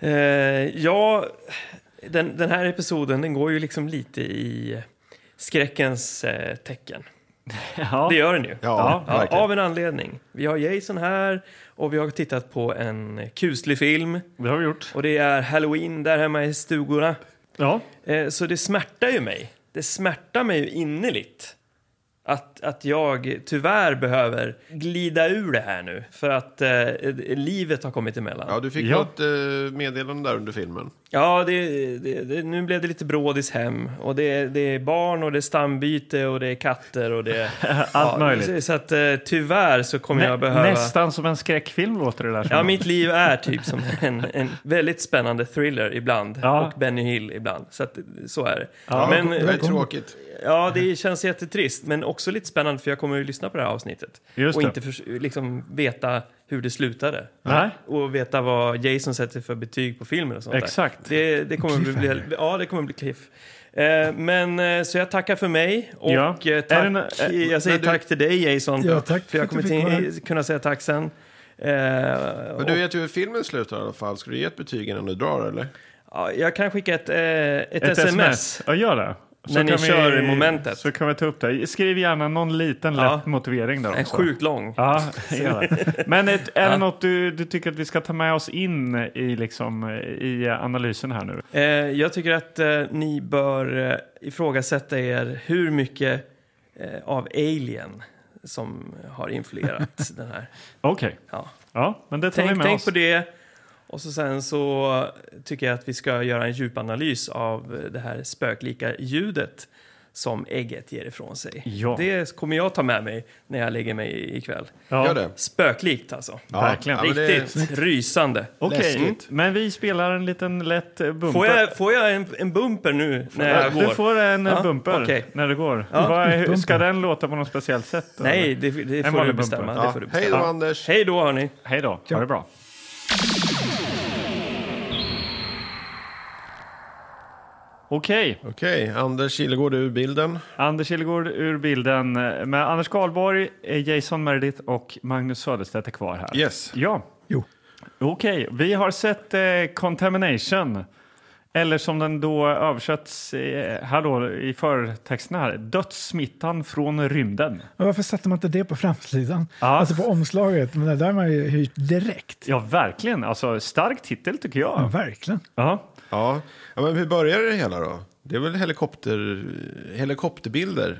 Eh, ja, den, den här episoden den går ju liksom lite i skräckens eh, tecken.
ja.
Det gör den ju.
Ja,
Ja,
verkligen.
av en anledning. Vi har Jason här och vi har tittat på en kuslig film.
Det har vi gjort.
Och det är Halloween där hemma i stugorna.
Ja.
Eh, så det smärtar ju mig. Det smärtar mig ju innerligt. Att, att jag tyvärr behöver glida ur det här nu. För att eh, livet har kommit emellan.
Ja, du fick
Ja.
något eh, meddelande där under filmen.
Ja, det, det, det, nu blev det lite brådis hem. Och det, det är barn och det är stambyte och det är katter och det... Allt
möjligt.
Så, så att eh, tyvärr så kommer
Nä,
jag behöva...
Nästan som en skräckfilm låter det där som.
Ja, mitt liv är typ som en, en väldigt spännande thriller ibland.
Ja.
Och Benny Hill ibland. Så att, så är det.
Ja.
Men
det är tråkigt.
ja, det känns jättetrist. Men också lite spännande för jag kommer ju lyssna på det här avsnittet.
Just
och
det.
inte för, liksom veta hur det slutade.
Nej.
Och veta vad Jason sätter för betyg på filmen och sånt där.
Exakt.
Det, det kommer bli,
Cliffhanger.
ja, det kommer bli cliff. Eh, Men eh, så jag tackar för mig och
Ja.
eh,
Är
tack,
det nå- eh,
jag säger
men du-
tack till dig Jason.
Ja, tack
för
för
jag
att du
kommer
fick vara
till, kunna säga tack sen. Eh,
Men
och-
du vet ju hur filmen slutar i alla fall. Ska du ge ett betyg innan du drar eller?
Ja, jag kan skicka ett, eh, ett,
Ett
sms.
Ja, gör det.
När ni
kan
kör i momentet.
Så kan vi ta upp det. Skriv gärna någon liten
Ja.
lätt motivering där
En
också.
sjukt lång.
Ja, gör det. Men ett, är det något du, du tycker att vi ska ta med oss in i, liksom, i analysen här nu?
Eh, jag tycker att eh, ni bör eh, ifrågasätta er hur mycket eh, av Alien som har influerat den här.
Okej.
Ja.
Ja, men det tar vi
Tänk,
med
tänk
oss.
på det. Och så sen så tycker jag att vi ska göra en djupanalys av eh, det här spöklika ljudet som ägget ger ifrån sig.
Ja.
Det kommer jag ta med mig när jag lägger mig ikväll.
Ja.
Gör det.
Spöklikt alltså.
Ja,
Verkligen.
men det-
Riktigt rysande.
Okej,
Läskigt.
men vi spelar en liten lätt eh, bumper.
Får jag, får jag en, en bumper nu när jag går?
Du får en eh,
Ja,
bumper
okej.
när du går. Vad, hur- ska den låta på något speciellt sätt? eller?
Nej, det, det, får du
vanlig
bestämma.
bumper.
det
Ja.
får du bestämma.
Hej då Anders.
Hej då hörni.
Hej då, ha det bra. Okej,
Okej, Anders Kilegård ur bilden.
Anders Kilgård ur bilden eh, med Anders Karlborg, eh, Jason Meredith och Magnus Söderstedt är kvar här.
Yes.
Ja,
Jo.
okej. Vi har sett eh, Contamination, eller som den då översätts eh, här då, i förtexten här, Dödssmittan från rymden.
Men varför satte man inte det på framsidan?
Ja.
Alltså på omslaget. Men det där har man ju hyrt direkt.
Ja, verkligen. Alltså, stark titel tycker
Ja,
jag.
verkligen.
Ja.
Ja. ja, men hur börjar det hela då? Det är väl helikopter, helikopterbilder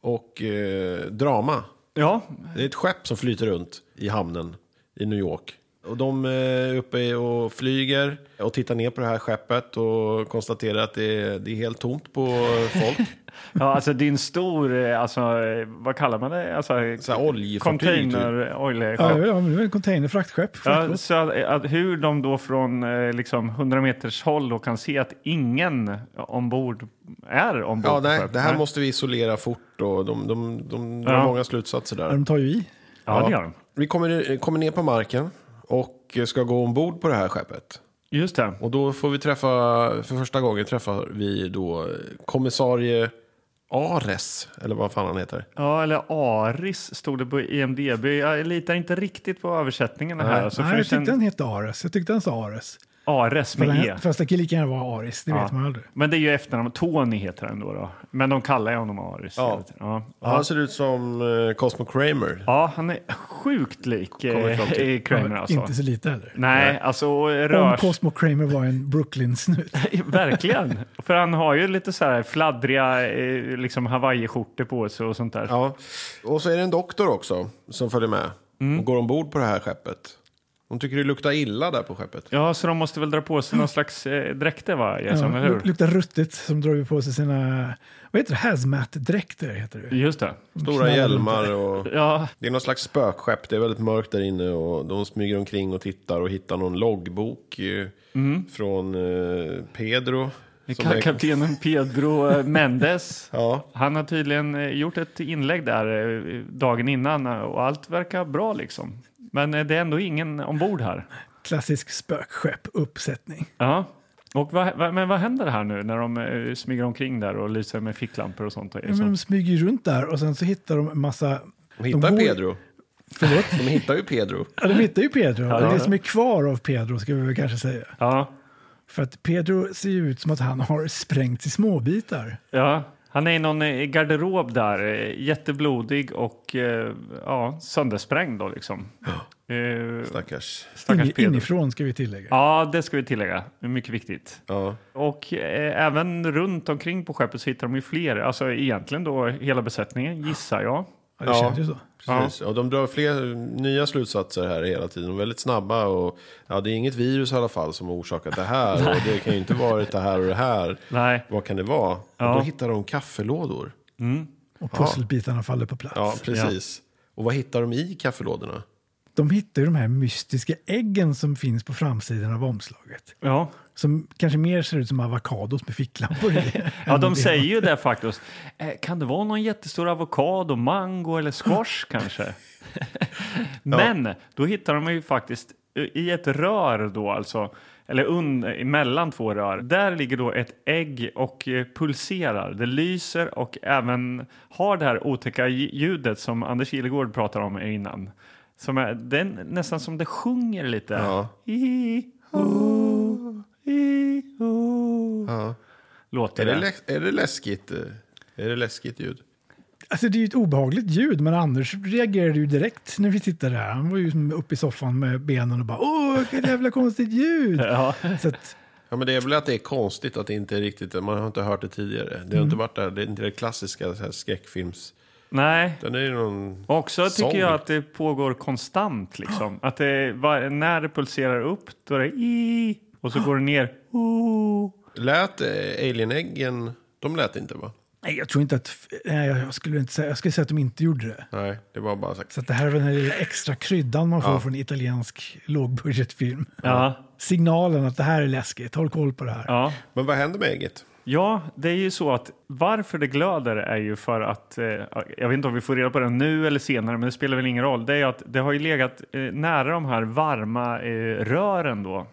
och eh, drama.
Ja,
Det är ett skepp som flyter runt i hamnen i New York. Och de eh, är uppe och flyger och tittar ner på det här skeppet och konstaterar att det är, det är helt tomt på folk.
Ja, alltså det är en stor, eh, alltså, eh, vad kallar man det? Alltså,
Så här oljefartyg. Typ.
container, oljeskepp.
Ja, ja, men det var en container, fraktskepp.
Ja,
fraktbåt.
så att, eh, att hur de då från eh, liksom 100 meters håll då kan se att ingen ombord är ombord.
Ja,
på
nej,
skeppet.
det här måste vi isolera fort och de, de, de drar
Ja.
många slutsatser där.
De tar ju i.
Ja, det gör de.
Vi kommer, kommer ner på marken och ska gå ombord på det här skeppet.
Just det.
Och då får vi träffa, för första gången träffar vi då kommissarie Ares, eller vad fan han heter.
Ja, eller Aris stod det på IMDB. Jag litar inte riktigt på översättningarna här. Alltså,
Nej,
för
jag
sen-
tyckte den hette Ares. Jag tyckte den sa Ares.
Ares
För
med
den,
E.
Fast det kan lika gärna vara Aris, det vet man aldrig.
Men det är ju efternamn. Tony heter han då. då. Men de kallar ju honom Aris.
Ja.
hela tiden. Ja.
Han ser ut som eh, Cosmo Kramer.
ja, han är sjukt lik
Kommer vi fram
eh,
till.
i Kramer alltså.
Inte så lite heller.
Nej, alltså
Om
rör
Cosmo Kramer var en Brooklyn-snut.
Verkligen. För han har ju lite så här fladdriga eh, liksom hawaiiskjortor på sig och sånt där.
Ja. Och så är det en doktor också som följer med och går ombord på det här skeppet. Hon tycker det luktar illa där på skeppet.
Ja, så de måste väl dra på sig någon slags eh, dräkter, va?
Ja,
Jason, eller
luk-
hur?
luktar ruttet som drar på sig sina, vad heter det, hazmat-dräkter heter det.
Just det.
Stora hjälmar och...
Ja,
Det är någon slags spökskepp, det är väldigt mörkt där inne och de smyger omkring och tittar och hittar någon loggbok eh, från eh, Pedro. Som är-
kaptenen Pedro eh, Mendes.
Ja,
Han har tydligen eh, gjort ett inlägg där eh, dagen innan eh, och allt verkar bra liksom. Men eh, det är ändå ingen ombord här.
Klassisk spökskepp-uppsättning.
Ja. Och vad, vad, men vad händer här nu när de eh, smyger omkring där och lyser med ficklampor och sånt? Och
Men de smyger ju runt där och sen så hittar de en massa...
de hittar
går-
Pedro.
Förlåt?
De hittar ju Pedro.
Ja, de hittar ju Pedro.
Ja,
det är
ja.
det som är kvar av Pedro ska vi väl kanske säga.
Ja,
För att Pedro ser ju ut som att han har sprängt i småbitar.
Ja, han är i någon eh, garderob där, eh, jätteblodig och eh, ja, söndersprängd då liksom. Eh,
Stackars.
stackars
In,
Pedro.
inifrån ska vi tillägga.
Ja, det ska vi tillägga. Det är mycket viktigt.
Ja.
Och eh, även runt omkring på skeppet så hittar de ju fler, alltså egentligen då hela besättningen gissar jag.
Ja, det
Ja.
känns ju så.
Precis. Och de drar fler nya slutsatser här hela tiden. De är väldigt snabba. Och, ja, det är inget virus i alla fall som har orsakat det här. och det kan ju inte vara det här och det här.
Nej,
Vad kan det vara?
Ja.
Och då hittar de kaffelådor.
Och pusselbitarna faller på plats.
Ja, precis. Och vad hittar de i kaffelådorna?
De hittar ju de här mystiska äggen som finns på framsidan av omslaget.
ja.
Som kanske mer ser ut som avokados med ficklampor i.
Ja,
Än
de
det-
säger ju det faktiskt. Eh, Kan det vara någon jättestor avokado, mango eller squash kanske? Men då hittar de ju faktiskt i ett rör då alltså, eller un, mellan två rör. Där ligger då ett ägg och eh, pulserar. Det lyser och även har det här otäcka lj- ljudet som Anders Kilegård pratade om innan. Som är, det är nästan som det sjunger lite.
Ja.
I-ho, i-ho.
Ja.
Låter
Är det, läs- är det läskigt? eh, Är det läskigt ljud?
Alltså det är ju ett obehagligt ljud, men Anders reagerade ju direkt när vi tittade här. Han var ju som uppe i soffan med benen och bara åh, vilket jävla konstigt ljud.
Ja.
Så att,
Ja, men det är väl att det är konstigt att det inte är riktigt, man har inte hört det tidigare. Det har inte varit där, det är inte det klassiska så här, skräckfilms...
Nej,
Den är ju någon...
och också tycker
Sång.
jag att det pågår konstant. Liksom. Att det, var, när det pulserar upp, då är det i och så går det ner. o.
Lät eh, alienäggen, de lät inte va?
nej, jag tror inte att, nej, jag skulle inte säga, jag skulle säga att de inte gjorde det.
Nej, det var bara så här,
Så att det här är väl den lilla extra kryddan man får från italiensk lågbudgetfilm.
Ja,
Signalen att det här är läskigt, håll koll på det här.
ja.
Men vad händer med ägget?
ja, det är ju så att varför det glöder är ju för att, eh, jag vet inte om vi får reda på det nu eller senare, men det spelar väl ingen roll. Det är ju att det har ju legat eh, nära de här varma eh, rören då.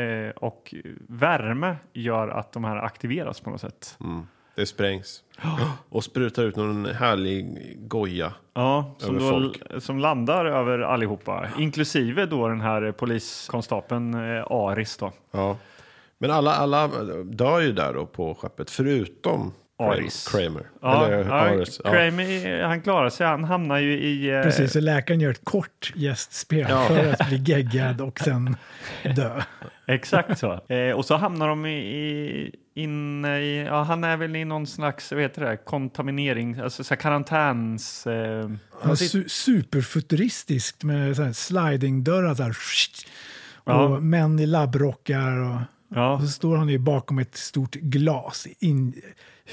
Eh, och värme gör att de här aktiveras på något sätt.
Mm. Det sprängs. Och sprutar ut någon härlig goja.
Ja, som,
Över
då, som landar över allihopa, inklusive då den här eh, poliskonstapeln eh, Aris. Då.
Ja. Men alla, alla dör ju där då på skeppet, förutom
Aris.
Kramer.
Ja,
Eller eh,
ja,
Aris. Ja.
Kramer, han klarar sig. Han hamnar ju i... eh,
Precis, så läkaren gör ett kort gästspel för att bli geggad och sen dö.
Exakt så. Eh, och så hamnar de i, i, inne i... Ja, han är väl i någon slags, vad heter det, kontaminering, alltså så här karantäns... Eh,
Ja, su Alltså, superfuturistiskt med så här slidingdörrar så här,
Ja.
och män i labbrockar. Och,
ja,
och så står han ju bakom ett stort glas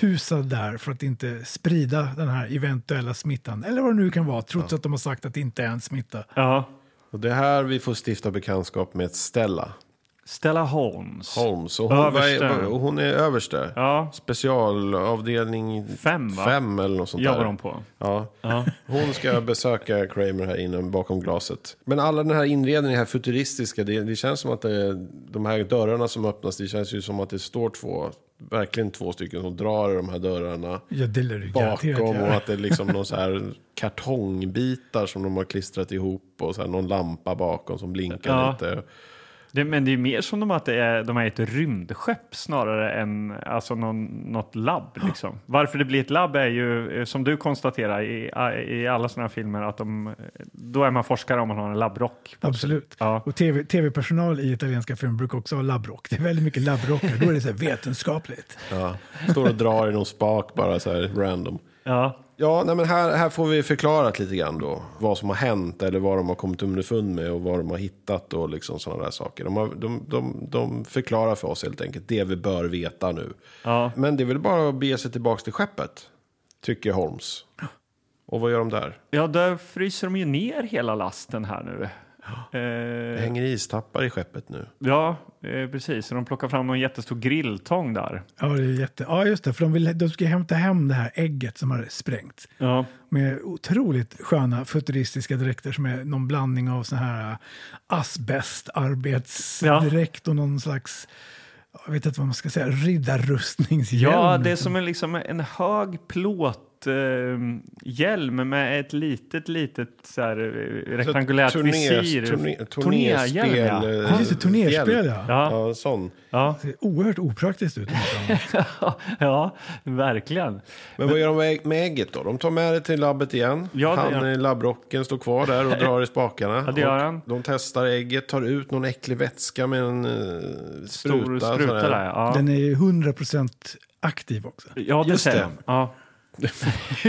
inhusad där för att inte sprida den här eventuella smittan. Eller vad det nu kan vara, trots att de har sagt att det inte är en smitta.
ja.
Och det är här vi får stifta bekantskap med Stella
Stella Holmes.
Holmes. Och hon, vad
Överste.
är, och hon är överste.
Ja,
Specialavdelning
Fem, va?
fem eller något sånt
jobbar
där.
de på.
Ja. Hon ska besöka Kramer här inne bakom glaset. Men alla den här inredningen, här futuristiska, det, det känns som att det, de här dörrarna som öppnas, det känns ju som att det står två, verkligen två stycken som drar i de här dörrarna
Ja, det lär du garanterat
bakom och
göra.
att det är liksom någon så här kartongbitar som de har klistrat ihop och så här någon lampa bakom som blinkar
Ja.
lite.
Det, men det är mer som de att det är, de är ett rymdskepp snarare än alltså någon, något labb. Liksom. Varför det blir ett labb är ju, eh, som du konstaterar i, i alla sådana här filmer, att de, då är man forskare om man har en labbrock.
Absolut.
Ja.
Och TV tv-personal i italienska filmer brukar också ha labbrock. Det är väldigt mycket labbrockar. Då är det så här vetenskapligt.
Ja. Står och drar i någon spak bara så här random.
Ja.
Ja, nej, men här, här får vi förklarat lite grann då. Vad som har hänt eller vad de har kommit underfund med och vad de har hittat och liksom sådana där saker. De, har, de, de, de förklarar för oss helt enkelt det vi bör veta nu.
Ja.
Men det är väl bara att bege sig tillbaka till skeppet, tycker Holmes. Och vad gör de där?
ja, där fryser de ju ner hela lasten här nu.
Det
Eh,
hänger istappar i skeppet nu.
ja, eh, precis. Så de plockar fram någon jättestor grilltång där.
Ja, det är jätte... ja just det. För de, vill, de ska hämta hem det här ägget som har sprängt.
Ja.
Med otroligt sköna futuristiska dräkter som är någon blandning av sån här äh, asbestarbetsdräkt och någon slags, jag vet inte vad man ska säga, riddarrustningshjälm.
Ja, det är som en, liksom en hög plåt eh, hjälm med ett litet, litet så här, eh, rektangulärt
Turner-
visir.
turner-
Turnerhjälm, ja.
turnerspel, eh,
Ja, just det, turnerspel, ja.
Ja, en sån.
Ja,
Det ser oerhört opraktiskt ut.
ja, verkligen.
Men vad gör de med- med ägget då? De tar med det till labbet igen.
Ja, det gör
han
de.
i labbrocken står kvar där och drar i spakarna.
Ja, det gör
Och
han.
De testar ägget, tar ut någon äcklig vätska med en eh, spruta.
Stor
sån
spruta
här.
där. Ja,
Den är ju 100% aktiv också.
ja det
Just
säger
det.
de. Ja,
Det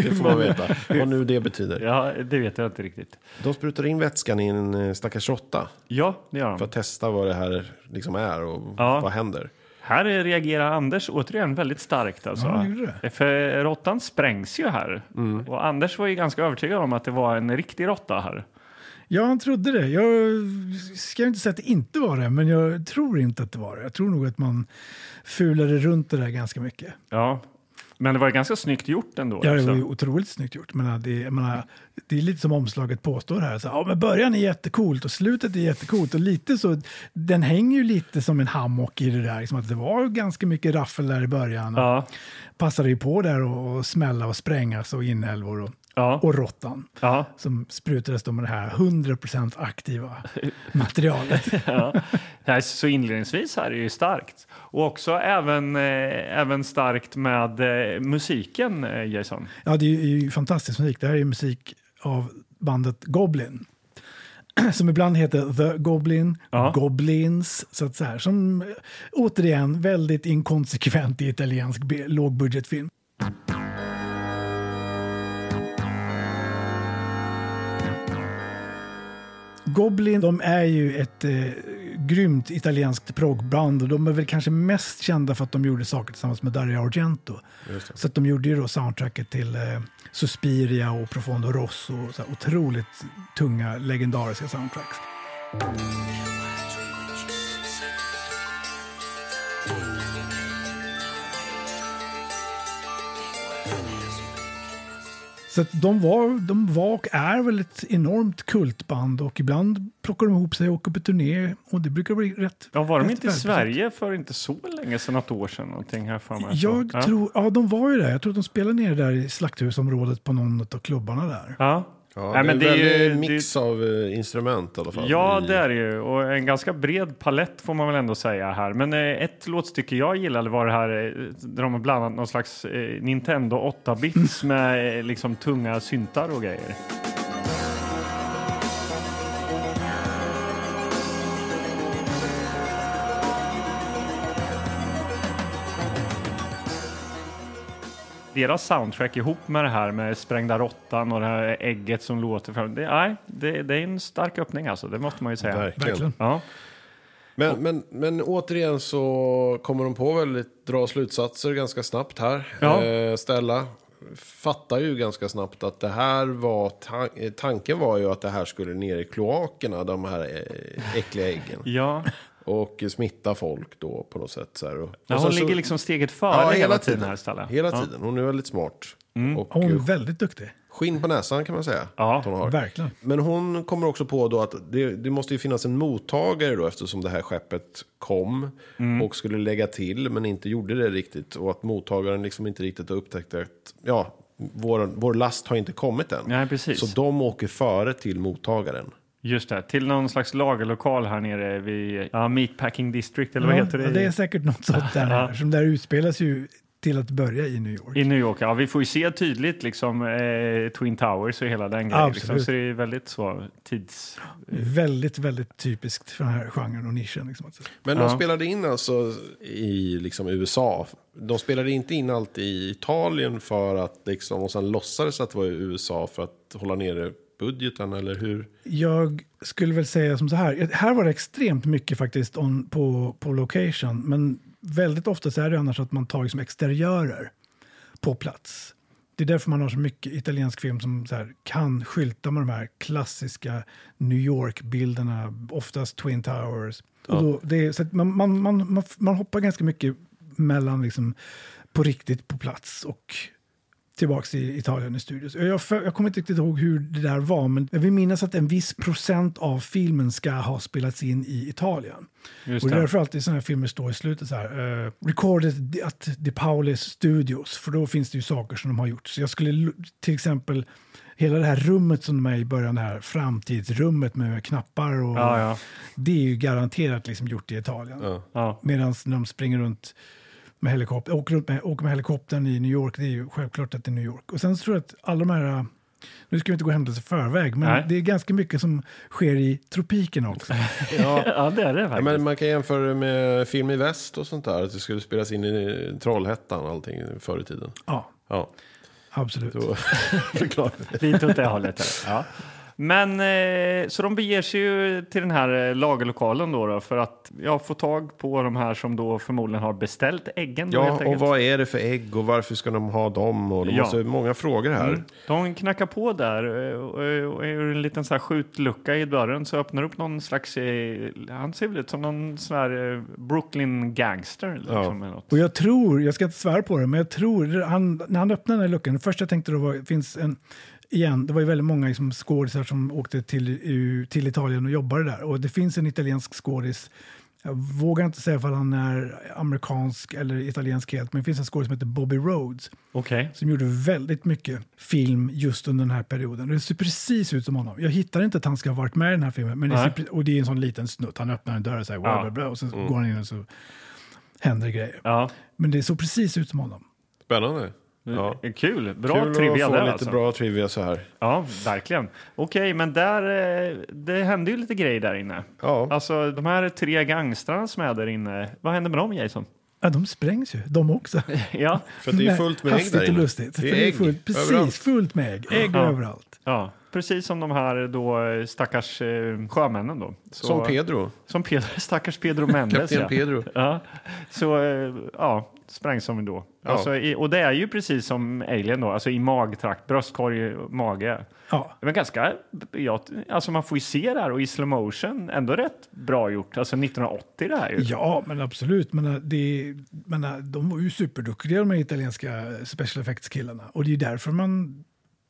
får man veta vad nu det betyder.
ja, det vet jag inte riktigt.
De sprutar in vätskan i en eh, stackars råtta
Ja, det gör
för
de.
att testa vad det här liksom är och
Ja.
vad händer.
Här reagerar Anders återigen väldigt starkt. Alltså.
Ja, han gjorde
det. För råttan sprängs ju här. Och Anders var ju ganska övertygad om att det var en riktig råtta här.
Ja, han trodde det. Jag ska inte säga att det inte var det, men jag tror inte att det var det. Jag tror nog att man fulade runt det där ganska mycket.
Ja. Men det var ju ganska snyggt gjort ändå.
Ja, det
liksom.
var ju otroligt snyggt gjort. Men det, jag menar, det är lite som omslaget påstår här. Så, ja, men början är jättecoolt och slutet är jättecoolt. Och lite så, den hänger ju lite som en hammock i det där. Liksom att det var ganska mycket raffel där i början. Och
Ja,
Passade ju på där och, och smälla och sprängas och inälvor och,
ja,
och råttan.
ja.
Som sprutades då med det här 100% aktiva materialet.
ja. Nej, Så inledningsvis här är ju starkt. Och också även, eh, även starkt med eh, musiken, eh, Jason.
Ja, det är ju- är ju fantastisk musik. Det här är ju musik av bandet Goblin. Som ibland heter The Goblin,
Ja.
Goblins, så att så här. Som eh, återigen väldigt inkonsekvent i italiensk b- lågbudgetfilm. Goblin, de är ju ett eh, grymt italienskt proggband och de är väl kanske mest kända för att de gjorde saker tillsammans med Dario Argento. Så att de gjorde ju då soundtracket till eh, Suspiria och Profondo Rosso och så här otroligt tunga legendariska soundtracks. Så att de var, de var och är väl ett enormt kultband och ibland plockar de ihop sig och åker på turné och det brukar bli rätt.
Ja, var de
rätt
inte i
välbesökt.
Sverige för inte så länge sedan, något år sedan? Någonting här för mig.
Jag
ja.
tror, ja de var ju där. Jag tror att de spelade nere där i slakthusområdet på någon av klubbarna där.
Ja.
Ja,
Nej, men
det är
det är
en
ju-
väldig mix av eh, instrument i alla fall.
Ja,
I-
det är det ju. Och en ganska bred palett får man väl ändå säga här. Men eh, ett låtstycke jag gillade var det här eh, där de har blandat någon slags eh, Nintendo 8-bits med eh, liksom tunga syntar och grejer. Deras soundtrack ihop med det här med sprängda råttan och det här ägget som låter fram. Det, nej, det, det är en stark öppning alltså, det måste man ju säga.
Verkligen.
Verkligen.
Ja.
Men, men, men återigen så kommer de på väldigt dra slutsatser ganska snabbt här.
Ja.
Eh, Stella fattar ju ganska snabbt att det här var tan- eh, tanken var ju att det här skulle ner i kloakerna, de här eh, äckliga äggen.
Ja,
Och smitta folk då på något sätt. Så här. Och,
ja
och
hon
sen
ligger
så,
liksom steget före
ja,
hela,
hela
tiden,
tiden.
här Stella.
Hela
ja. Mm.
tiden. Hon är väldigt smart. Och
Hon är
eh,
väldigt duktig.
skinn på näsan kan man säga.
Ja.
att hon har.
Verkligen.
Men hon kommer också på då att det, det måste ju finnas en mottagare då eftersom det här skeppet kom
Mm.
och skulle lägga till men inte gjorde det riktigt. Och att mottagaren liksom inte riktigt har upptäckt att ja, vår, vår last har inte kommit än.
Nej, precis.
Så de åker före till mottagaren.
Just det, till någon slags lagerlokal här nere vid ja, Meatpacking District eller vad
Ja,
heter det?
ja,
i-
det är säkert något sånt där. nere, Som där utspelas ju till att börja i New York.
I New York, ja. Vi får ju se tydligt liksom eh, Twin Towers och hela den grejen.
Absolut.
Liksom, så det är väldigt så tids...
Väldigt, väldigt typiskt för den här genren och nischen. Liksom. Alltså.
Men
Ja.
de spelade in alltså i liksom USA. De spelade inte in allt i Italien för att liksom, och sen låtsades att det var i USA för att hålla nere budgeten eller hur?
Jag skulle väl säga som så här. Här var det extremt mycket faktiskt on, på, på location. Men väldigt ofta så är det annars att man tar liksom exteriörer på plats. Det är därför man har så mycket italiensk film som så här, kan skylta med de här klassiska New York-bilderna, oftast Twin Towers. Och då, det är, så att man, man, man, man, man hoppar ganska mycket mellan liksom, på riktigt på plats och tillbaks i Italien i studios. Jag, jag, jag kommer inte riktigt ihåg hur det där var, men jag vill minnas att en viss procent av filmen ska ha spelats in i Italien.
Just
Och det är
det.
därför alltid sådana här filmer står i slutet så här. eh, recorded at De Paulis Studios. För då finns det ju saker som de har gjort. Så jag skulle l- till exempel hela det här rummet som de är i början, det här framtidsrummet med knappar och
Ja, ja.
det är ju garanterat liksom gjort i Italien.
ja.
Medan när de springer runt med helikopter, åker, runt med, åker med helikoptern i New York, det är ju självklart att det är New York. Och sen så tror jag att alla de här, nu ska vi inte gå händelser i förväg, men
Nej.
det är ganska mycket som sker i tropikerna också.
Ja. det är det
Ja,
faktiskt.
men man kan jämföra det med film i väst och sånt där. Att det skulle spelas in i Trollhättan och allting förr i tiden.
Ja,
Ja,
absolut.
då förklarar vi.
Lite åt det hållet. här. Ja. Men eh, så de beger sig ju till den här eh, lagerlokalen då, då för att ja, få tag på de här som då förmodligen har beställt äggen. då, helt
Ja, och
enkelt.
vad är det för ägg och varför ska de ha dem? Och de
Ja. Mm.
måste, många frågor här.
De knackar på där eh, och eh, och ur en liten så här skjutlucka i dörren så öppnar upp någon slags, eh, han ser väl ut som någon sån här eh, Brooklyn gangster. Liksom, eller något.
Och jag tror, jag ska inte svära på det, men jag tror, han, när han öppnade den här luckan, det första jag tänkte då var, finns en, igen, det var ju väldigt många liksom skådisar som åkte till, u- till Italien och jobbade där. Och det finns en italiensk skådis, jag vågar inte säga ifall han är amerikansk eller italiensk helt, men det finns en skådis som heter Bobby Rhodes
Okej.
som gjorde väldigt mycket film just under den här perioden. Det ser precis ut som honom. Jag hittar inte att han ska ha varit med i den här filmen. Men det
Nej.
ser, pre- och det är en sån liten snutt. Han öppnar en dörr och säger
Ja.
bla, bla, bla, och sen går han in och så händer grejer.
Ja.
Men det såg precis ut som honom.
Spännande. Ja.
eh, Kul, bra
Kul
trivia
att få
där
lite
alltså.
bra trivia så här.
Ja, verkligen. Okej, men där, eh, det hände ju lite grejer där inne.
Ja.
Alltså de här tre gangstrarna som är där inne, vad hände med dem Jason?
Ja, de sprängs ju, de också.
Ja,
För att det är fullt med ägg
Hastigt
där
och
inne.
lustigt. För Det är
ägg
fullt, precis,
överallt.
fullt med ägg. Ägg
Ja.
överallt.
ja. precis som de här då eh, stackars eh, sjömännen då. Så-
Som Pedro.
Som Pedro, stackars Pedro Mendes.
Kapten
ja.
Pedro.
Ja. Så eh, ja, sprängs de då.
Ja.
Alltså, i, och det är ju precis som Alien då, alltså i magtrakt, bröstkorg, mage.
Ja.
Men ganska, ja, alltså man får ju se det här och i slow motion, ändå rätt bra gjort. Alltså 1980 det här ju.
Ja, men absolut. Men, äh, det, men äh, de var ju superduktiga de här italienska special effects-killarna. Och det är ju därför man...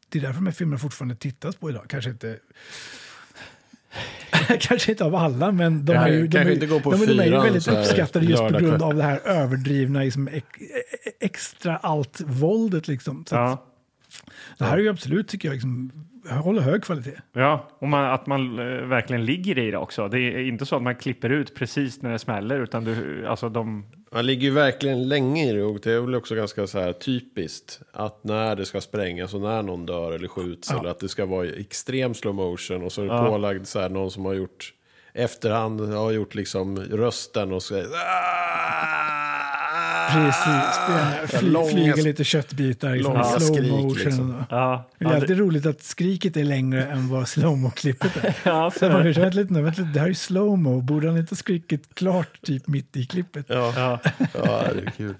Det är därför de här filmerna fortfarande tittas på idag. Kanske inte... Kanske inte av alla, men de,
Nej,
är ju, de, är,
kanske
ju-
inte går på
de, är- de är ju
fyran
väldigt
så här
uppskattade just på
lördagkväll.
grund av det här överdrivna liksom, ex, extra allt-våldet. Liksom. Så att
Ja.
Det här är ju absolut, tycker jag, liksom, håller hög kvalitet.
Ja, och man, att man eh, verkligen ligger i det också. Det är inte så att man klipper ut precis när det smäller, utan du, alltså de...
Man ligger ju verkligen länge i det och det är väl också ganska så här typiskt att när det ska sprängas och när någon dör eller skjuts eller att det ska vara i extrem slow motion och så är det pålagd så här någon som har gjort efterhand har gjort liksom rösten och så
Precis. Ah, Fly,
Långa-
flyger lite köttbitar i
långa
slow
skrik,
motion.
liksom.
Ja,
Det är alltid roligt att skriket är längre än vad slowmo klippet är.
ja,
Så jag bara,
så,
vänta lite nu, vänta lite, det här är ju slowmo. Borde han inte ha skrikit klart typ mitt i klippet?
ja,
Ja, det är kul.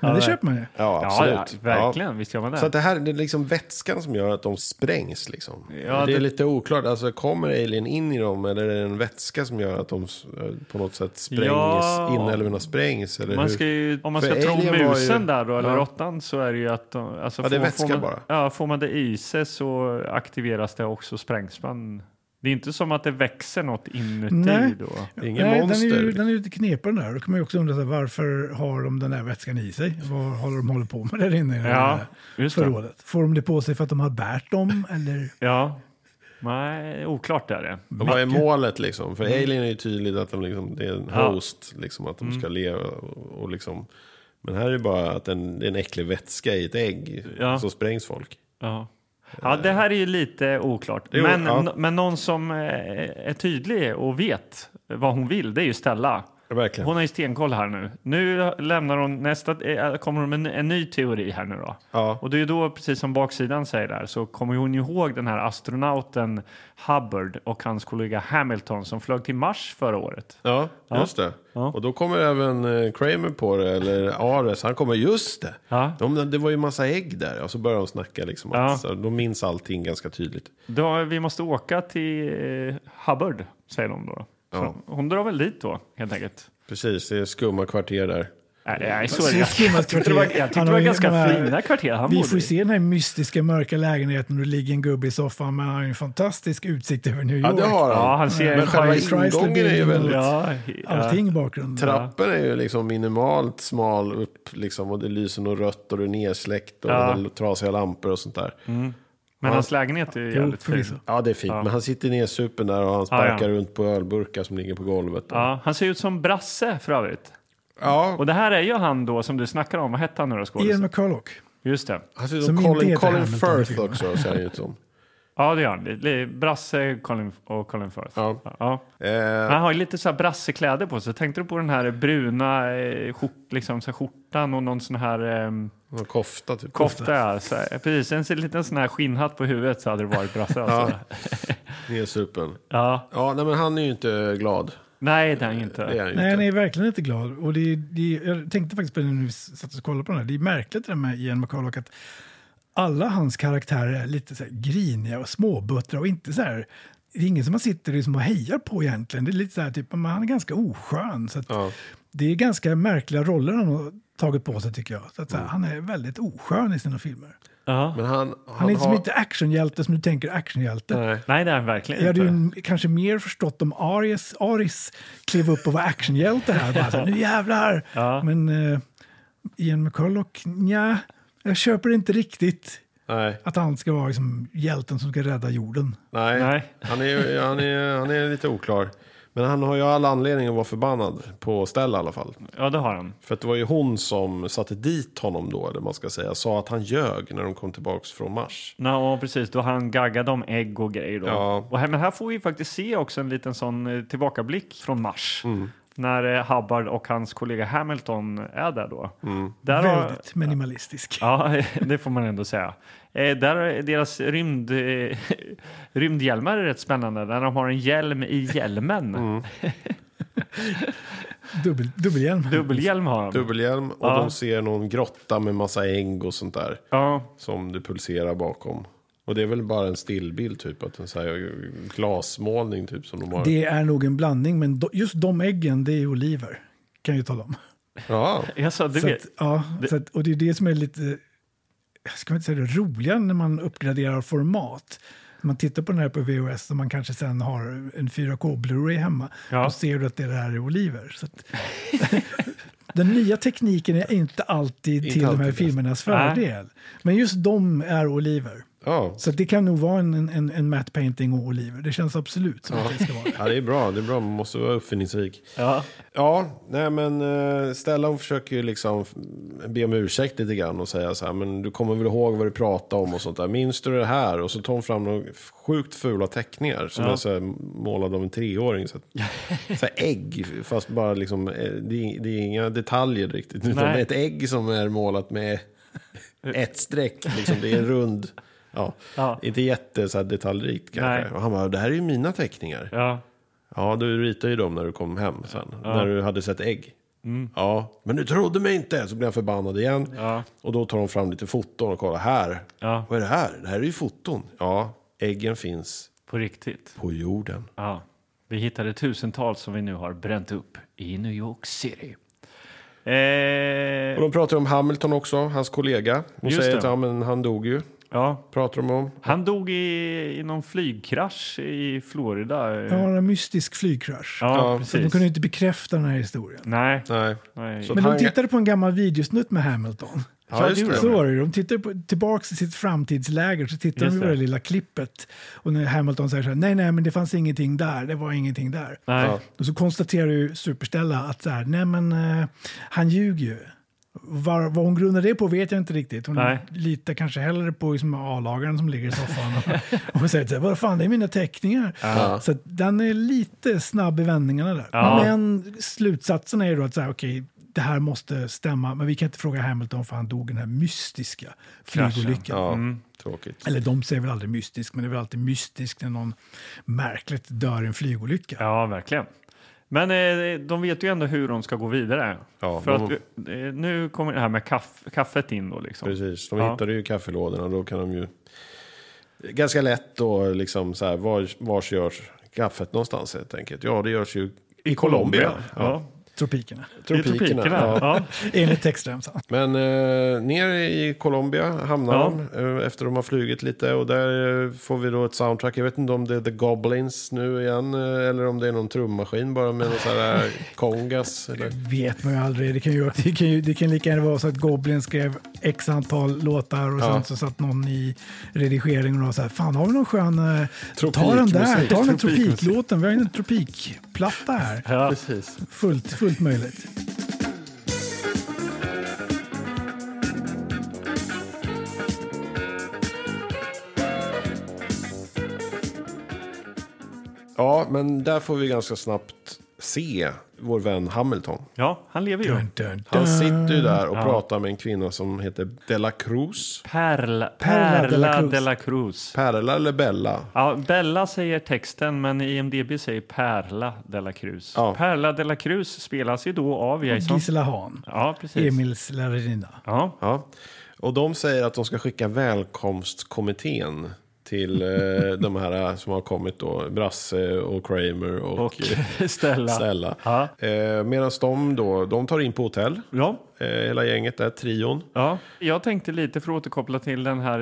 Men det köper man ju.
Ja,
ja,
absolut.
ja, verkligen. Visst gör man
Så att
det.
det här det är liksom vätskan som gör att de sprängs liksom.
Ja,
det är
det-
lite oklart, alltså kommer alien in i dem eller är det en vätska som gör att de s- eh, på något sätt sprängs,
Ja.
inälvorna sprängs? Eller
Man
hur?
ska ju, om man
För
ska tro
Alien var
musen
ju-
där då, eller
Ja.
råttan, så är det ju att... de- Alltså,
Ja, det är
får-
vätska
får man,
bara.
Ja, får man det i sig så aktiveras det också, sprängs man. Det är inte som att det växer något inuti
Nej.
då.
Det är ingen
Nej,
monster.
Den är, ju, den är ju lite knepig den där. Då kan man ju också undra så här, varför har de den där vätskan i sig? Vad håller de håller på med där inne i det
Ja,
här
just det.
förrådet? Får de det på sig för att de har bärt dem? Eller?
Ja. Nej, oklart är det.
Och vad är målet liksom? För Alien är ju tydligt att de liksom, det är en
Mm. Ja. Mm.
host, liksom, att de ska leva och, och liksom... Men här är det bara att en, det är en äcklig vätska i ett ägg,
Ja.
så sprängs folk.
Ja. Ja, det här är ju lite oklart.
Jo,
men,
ja.
n- men någon som eh, är tydlig och vet vad hon vill, det är ju Stella.
Ja, verkligen.
Hon har ju stenkoll här nu. Nu lämnar hon nästa, eh, kommer hon med en, en ny teori här nu då.
Ja.
Och det är ju då, precis som baksidan säger där, så kommer ju hon ihåg den här astronauten Hubbard och hans kollega Hamilton som flög till Mars förra året.
Ja, just det.
Ja.
Och då kommer även eh, Kramer på det, eller Ares, han kommer just det.
Ja.
De, det var ju massa ägg där. Och så börjar de snacka liksom. Att,
Ja.
så, de minns allting ganska tydligt.
Då, vi måste åka till eh, Hubbard, säger de då. Så
Ja.
Hon drar väl dit då, helt enkelt.
Precis, det är skumma kvarter där.
Nej, nej, så är
Det är
det.
skummat
tyckte det var, jag tyckte det var ganska fina kvarter han
Vi
bodde
får ju
i.
se den här mystiska mörka lägenheten och det ligger en gubbe i soffan men han har ju en fantastisk utsikt över New
Ja,
York.
det har han.
Ja, han ser
Men
en
själva
skärm.
Chrysler
ingången är ju
Building och-
väldigt...
Ja, ja.
Allting i bakgrunden.
Trappen är ju liksom minimalt smal upp liksom. Och det lyser något rött och det är nedsläckt och
Ja. Mm.
det är trasiga lampor och sånt där.
Men hans lägenhet är ju
Jo,
jävligt fin.
förvisso.
Ja, det är fint. Men han sitter nedsupen där och han sparkar
ja.
runt på ölburkar som ligger på golvet.
Ja, han ser ut som Brasse för övrigt.
Ja,
Och det här är ju han då som du snackar om. Vad hette han nu då,
Ian
skådisen?
McCulloch.
Just det.
han ser ut
Som
som
inte
Alltså, Colin,
heter
Colin
Hamilton i
Firth
filmen.
också, ser han ut som.
Ja, det gör han. Det är Brasse Colin och Colin Firth.
Ja.
Ja.
Eh,
Han har ju lite så här brassekläder på sig. Tänkte du på den här bruna eh, skjort, liksom, så här skjortan och någon sån här ehm,
Någon kofta typ.
kofta? ja, Så här, precis, en sån- liten sån här skinnhatt på huvudet så hade det varit Brasse. Alltså.
Nedsupen.
ja.
Ja, nej men han är ju inte glad.
Nej, det är han
Det är
inte.
han ju
Nej, han
inte.
är verkligen inte glad. Och det, det, jag tänkte faktiskt på det när vi satt och kollade på den här. Det är märkligt det där med Ian McCulloch att alla hans karaktärer är lite så här griniga och småbuttra och inte så här. Det är ingen som man sitter liksom och hejar på egentligen. Det är lite så här typ, men han är ganska oskön. Så att
Ja.
Det är ganska märkliga roller han har tagit på sig tycker jag. Så att, så här,
Mm.
Han är väldigt oskön i sina filmer.
Ja.
Men han, han,
Han är inte
har...
som inte actionhjälte som du tänker actionhjälte.
Nej.
Nej, det är han verkligen
Jag hade
inte.
ju m- kanske mer förstått om Aris, Aris klev upp och var actionhjälte här. Bara så, här, nu jävlar!
Ja.
Men eh, Ian McCulloch, nja, jag köper inte riktigt
Nej.
att han ska vara liksom, hjälten som ska rädda jorden.
Nej.
Nej.
Han, är, ju- han, är, han är lite oklar. Men han har ju all anledning att vara förbannad på Stella i alla fall.
Ja, det har han.
För att det var ju hon som satte dit honom då, eller vad man ska säga. Sa att han ljög när de kom tillbaks från Mars.
Ja, precis. Då han gaggade om ägg och grejer. Då.
Ja.
Och här, men här får vi faktiskt se också en liten sån eh, tillbakablick från Mars. När eh, Hubbard och hans kollega Hamilton är där då. Där har,
Väldigt minimalistisk.
ja, det får man ändå säga. Eh, där är deras rymd, eh, rymdhjälmar är rätt spännande. Där de har en hjälm i hjälmen.
Dubbel, dubbelhjälm.
Dubbelhjälm har de.
Dubbelhjälm och
Ja.
de ser någon grotta med massa ägg och sånt där.
Ja,
Som det pulserar bakom. Och det är väl bara en stillbild typ. Att en så här glasmålning typ som de har.
Det är nog en blandning, men do, just de äggen, det är oliver. Kan jag ju tala om.
Ja.
jag sa, du
Så
vet.
att, ja, så att, och det är det som är lite, jag ska inte säga det roliga när man uppgraderar format. När man tittar på den här på VHS och man kanske sen har en 4K Blu-ray hemma,
Ja.
då ser du att det där är oliver. Så att, den nya tekniken är inte alltid till de här
alltid
filmernas
Nej.
fördel. Men just de är oliver.
Ja.
Så det kan nog vara en, en- en, en matte painting och oliver. Det känns absolut som att det ska vara det.
ja, det är bra. Det är bra. Man måste vara uppfinningsrik.
Ja.
Ja, nej men eh, Stellan försöker ju liksom be om ursäkt lite grann och säga så här, men du kommer väl ihåg vad du pratade om och sånt där. Minns du det här? Och så tar hon fram några sjukt fula teckningar som är så här målade av en treåring. Så, att, så här ägg, fast bara liksom, eh, det är, det är inga detaljer riktigt. Utan
Nej.
det är ett ägg som är målat med ett streck, liksom. det är en rund. Ja,
Ja.
Inte jätte så här detaljrikt kanske.
Nej.
Och han bara, det här är ju mina teckningar.
Ja.
Ja, du ritade ju dem när du kom hem sen. När du hade sett ägg. Ja, men du trodde mig inte! Så blev jag förbannad igen.
Mm. Ja.
Och då tar de fram lite foton och kollar här.
Ja.
Vad är det här? Det här är ju foton. Ja, äggen finns
På riktigt.
på jorden.
Ja. Vi hittade tusentals som vi nu har bränt upp i New York City.
Och
Eh,
de pratar ju om Hamilton också, hans kollega. Hon
Just
säger
det.
att ja, men han dog ju.
ja.
Pratar de om.
Han dog i, i någon flygkrasch i Florida.
Det var en mystisk flygkrasch.
ja,
Ja.
Så de
precis.
kunde ju inte bekräfta den här historien.
Nej.
Nej.
Nej.
Så-
Men
Han-
de tittade på en gammal videosnutt med Hamilton.
Ja, just
det
det.
gjorde
Så var det ju. De tittade på, tillbaka till sitt framtidsläger så tittade
Just
de på det
det.
lilla klippet. Och när Hamilton säger så här, nej, nej, men det fanns ingenting där, det var ingenting där.
Nej.
Ja.
Och så konstaterar ju Superstella att så här, nej men eh, han ljuger ju. Var, vad hon grundar det på vet jag inte riktigt. Hon
Nej.
litar kanske hellre på liksom, A-lagaren som ligger i soffan. Och, och säger så här, vad fan det är mina teckningar. Så att den är lite snabb i vändningarna där.
Ja.
Men slutsatsen är ju då att så här, okej, det här måste stämma. Men vi kan inte fråga Hamilton för han dog i den här mystiska
Kraschen.
flygolyckan.
Ja,
Mm.
tråkigt.
Eller de säger väl aldrig mystisk, men det är väl alltid mystiskt när någon märkligt dör i en flygolycka.
Ja, verkligen. Men eh, de vet ju ändå hur de ska gå vidare.
Ja,
För
de-
att, eh, nu kommer det här med kaff, kaffet in då. Liksom.
Precis, de
Ja.
hittade ju kaffelådorna. Då kan de ju... Ganska lätt då, liksom så här, var, vars görs kaffet någonstans helt enkelt? Ja, det görs ju i Colombia.
Ja.
Tropikerna.
I tropikerna. Ja.
Ja.
Enligt textremsan.
Men eh, ner i Colombia hamnar
Ja.
de eh, efter de har flugit lite och där eh, får vi då ett soundtrack. Jag vet inte om det är The Goblins nu igen eh, eller om det är någon trummaskin bara med någon sån här eh, kongas. Eller...
Vet man ju aldrig. Det kan ju, det kan ju, det kan lika gärna vara så att Goblin skrev x antal låtar och
Ja.
sen så satt någon i redigeringen och var så här, fan har vi någon skön... eh, Ta den där,
Tropikmusik.
ta den
Tropikmusik.
tropiklåten, vi har ju en tropikplatta här.
Ja.
Precis.
Fullt, fullt möjligt.
Ja, men där får vi ganska snabbt se vår vän Hamilton.
ja, han lever ju.
Dun, dun,
Han
dun.
sitter ju där och pratar med en kvinna som heter Della Cruz.
Perla,
Perla de la
Perla
Cruz.
de la Cruz.
Perla eller Bella?
Ja, Bella säger texten, men E IMDB säger Perla de la Cruz.
Ja.
Perla de la Cruz spelas ju då av Jason.
Gisela Hahn,
Ja, precis.
Emils lärarina.
Ja,
Ja. Och de säger att de ska skicka välkomstkommittén till eh, de här som har kommit då, Brasse och Kramer och,
och
eh,
Stella.
Stella.
Ja.
Eh, Medan de då, de tar in på hotell,
Ja,
eh, hela gänget där, trion.
Ja, jag tänkte lite för att återkoppla till den här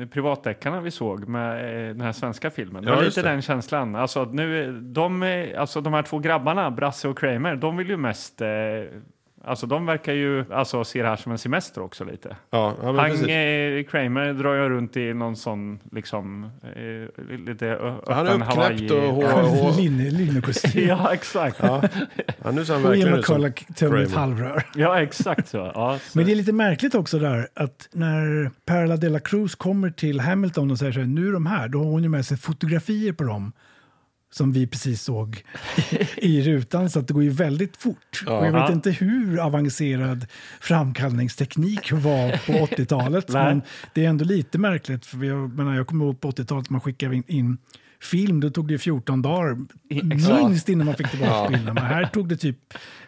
eh, privatdeckarna vi såg med eh, den här svenska filmen. Det
Ja,
var
just
lite
det.
den känslan. Alltså, att nu, eh, de, eh, alltså de här två grabbarna, Brasse och Kramer, de vill ju mest... Eh, alltså de verkar ju alltså, se det här som en semester också lite.
Ja, ja men
Han,
precis.
eh, Kramer drar ju runt i någon sån liksom eh, lite ö- öppen
Han är uppknäppt och
Hawaii-
hår- och-
Linne- Linnekostym.
Ja, exakt. Ja,
Ja. Ja, nu ser han
Och Ian
verkligen ut som...
McCulloch tömmer ett
Kramer.
halvrör.
exakt så. Ja, så.
Men det är lite märkligt också där att när Perla de la Cruz kommer till Hamilton och säger så här, nu är de här, då har hon ju med sig fotografier på dem som vi precis såg i, i rutan, så att det går ju väldigt fort. Och jag vet
Ja.
inte hur avancerad framkallningsteknik var på 80-talet,
Nej.
men det är ändå lite märkligt. För jag, menar, jag kommer ihåg på 80-talet man skickade in, in film, då tog det ju 14 dagar
exakt.
minst innan man fick tillbaka bilderna. Men här tog det typ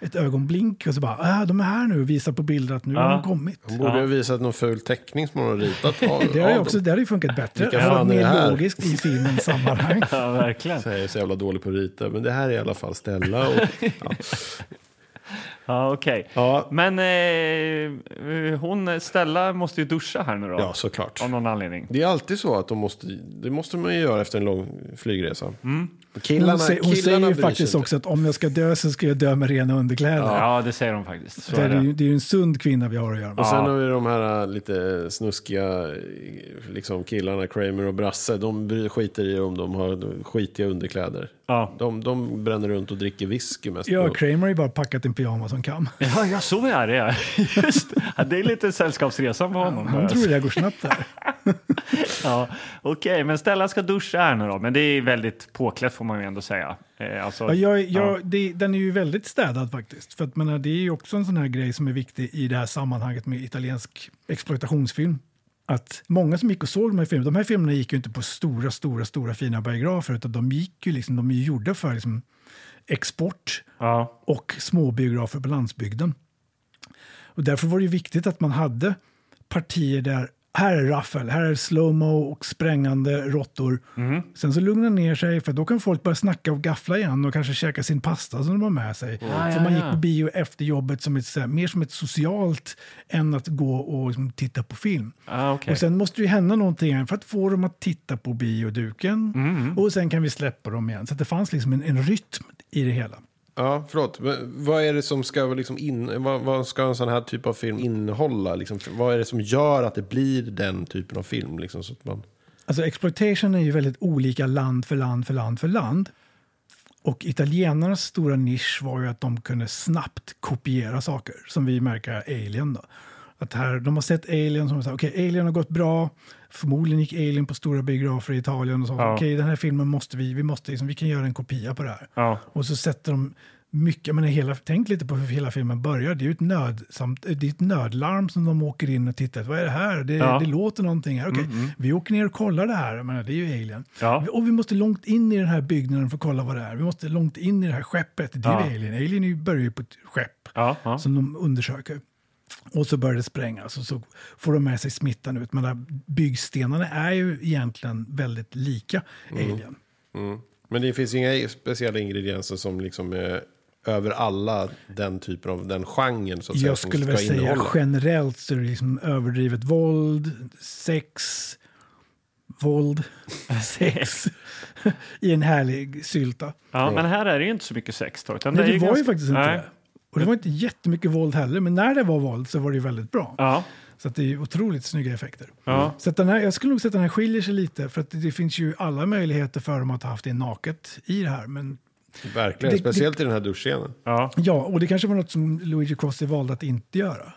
ett ögonblink och så bara, ah, de är här nu och visar på bilder att nu har
Ja.
de kommit.
Hon borde ju ha visat någon ful teckning som hon har ritat av,
Det har, ju
av
också,
dem.
det har ju funkat bättre.
Vilka
Det har
fan
varit
är det
mer
här?
logiskt i filmens sammanhang.
Ja, verkligen.
Jag är så jävla dålig på att rita, men det här är i alla fall Stella. Och, ja.
Ja, okej.
Ja.
Men eh, eh, hon, Stella, måste ju duscha här nu då.
ja, såklart.
Av någon anledning.
Det är alltid så att de måste, det måste man ju göra efter en lång flygresa. Killarna,
Mm. hon säger, hon säger ju
bryr sig
faktiskt
inte.
också att om jag ska dö så ska jag dö med rena underkläder.
Ja, det säger de faktiskt. Så
det,
är
är ju,
det.
det är ju en sund kvinna vi har att göra med.
Och sen har vi de här äh, lite snuskiga äh, liksom, killarna, Kramer och Brasse. De bryr- skiter i om de har skitiga underkläder.
Ja.
De, de bränner runt och dricker whisky mest.
Ja,
Och-
Kramer har ju bara packat en pyjamas som kan.
Ja, ja, så är det. ja. Just, det. ja, det är lite sällskapsresan för honom.
Han tror det där går snabbt där.
Ja, Okej, men Stella ska duscha här nu då. Men det är väldigt påklätt får man ju ändå säga. Eh, alltså,
Ja, jag,
ja.
jag, det, den är ju väldigt städad faktiskt. För att, menar, det är ju också en sån här grej som är viktig i det här sammanhanget med italiensk exploitationsfilm. Att många som gick och såg de här filmerna, de här filmerna gick ju inte på stora, stora, stora fina biografer utan de gick ju liksom, de är ju gjorda för liksom export
Ja.
och småbiografer på landsbygden. Och därför var det ju viktigt att man hade partier där här är raffel, här är slowmo och sprängande råttor.
Mm.
Sen så lugnar det ner sig för då kan folk börja snacka och gaffla igen och kanske käka sin pasta som de har med sig. för
ja,
man
ja.
gick på bio efter jobbet som ett, så här, mer som ett socialt än att gå och liksom, titta på film.
Ah, okej.
Och sen måste det ju hända någonting för att få dem att titta på bioduken
Mm.
och sen kan vi släppa dem igen. Så att det fanns liksom en, en rytm i det hela.
Ja, förlåt. Men vad är det som ska vara liksom in, vad, vad ska en sån här typ av film innehålla? Liksom, vad är det som gör att det blir den typen av film? Liksom, så att man...
Alltså exploitation är ju väldigt olika land för land för land för land. Och italienarnas stora nisch var ju att de kunde snabbt kopiera saker, som vi märker i Alien. Då. Att här, de har sett Alien som säger okej, Alien har gått bra. Förmodligen gick Alien på stora biografer i Italien och sa
Ja.
okej, den här filmen måste vi, vi måste liksom, vi kan göra en kopia på det här.
Ja.
Och så sätter de mycket, men hela, tänk lite på hur hela filmen börjar. Det är ju ett, nödsamt, det är ett nödlarm som de åker in och tittar. Vad är det här? Det,
Ja. Mm,
det låter någonting här. Okej, Vi åker ner och kollar det här. Jag menar, det är ju alien.
Ja.
Och vi måste långt in i den här byggnaden för att kolla vad det är. Vi måste långt in i det här skeppet. Det är
Ja.
ju alien. Alien är ju- börjar ju på ett skepp
Ja, ja.
som de undersöker. Och så börjar det sprängas och så får de med sig smittan ut. Men byggstenarna är ju egentligen väldigt lika
Mm.
alien.
Men det finns inga speciella ingredienser som liksom är över alla den typen av den genren så att säga,
Jag
som
skulle
ska
väl säga
innehålla.
generellt så är det liksom överdrivet våld, sex, våld, sex i en härlig sylta.
ja, men här är det ju inte så mycket sex. Då, utan
Nej,
är
det, var ju
ganska-
faktiskt inte
Nej.
det. Och det var inte jättemycket våld heller, men när det var våld så var det ju väldigt bra.
Ja,
Så att det är ju otroligt snygga effekter.
ja.
Så att den här, jag skulle nog säga att den här skiljer sig lite, för att det finns ju alla möjligheter för dem att ha haft det naket i det här. Men
Verkligen,
Det-
speciellt i den här duschscenen.
ja.
Ja, och det kanske var något som Luigi Crossi valde att inte göra.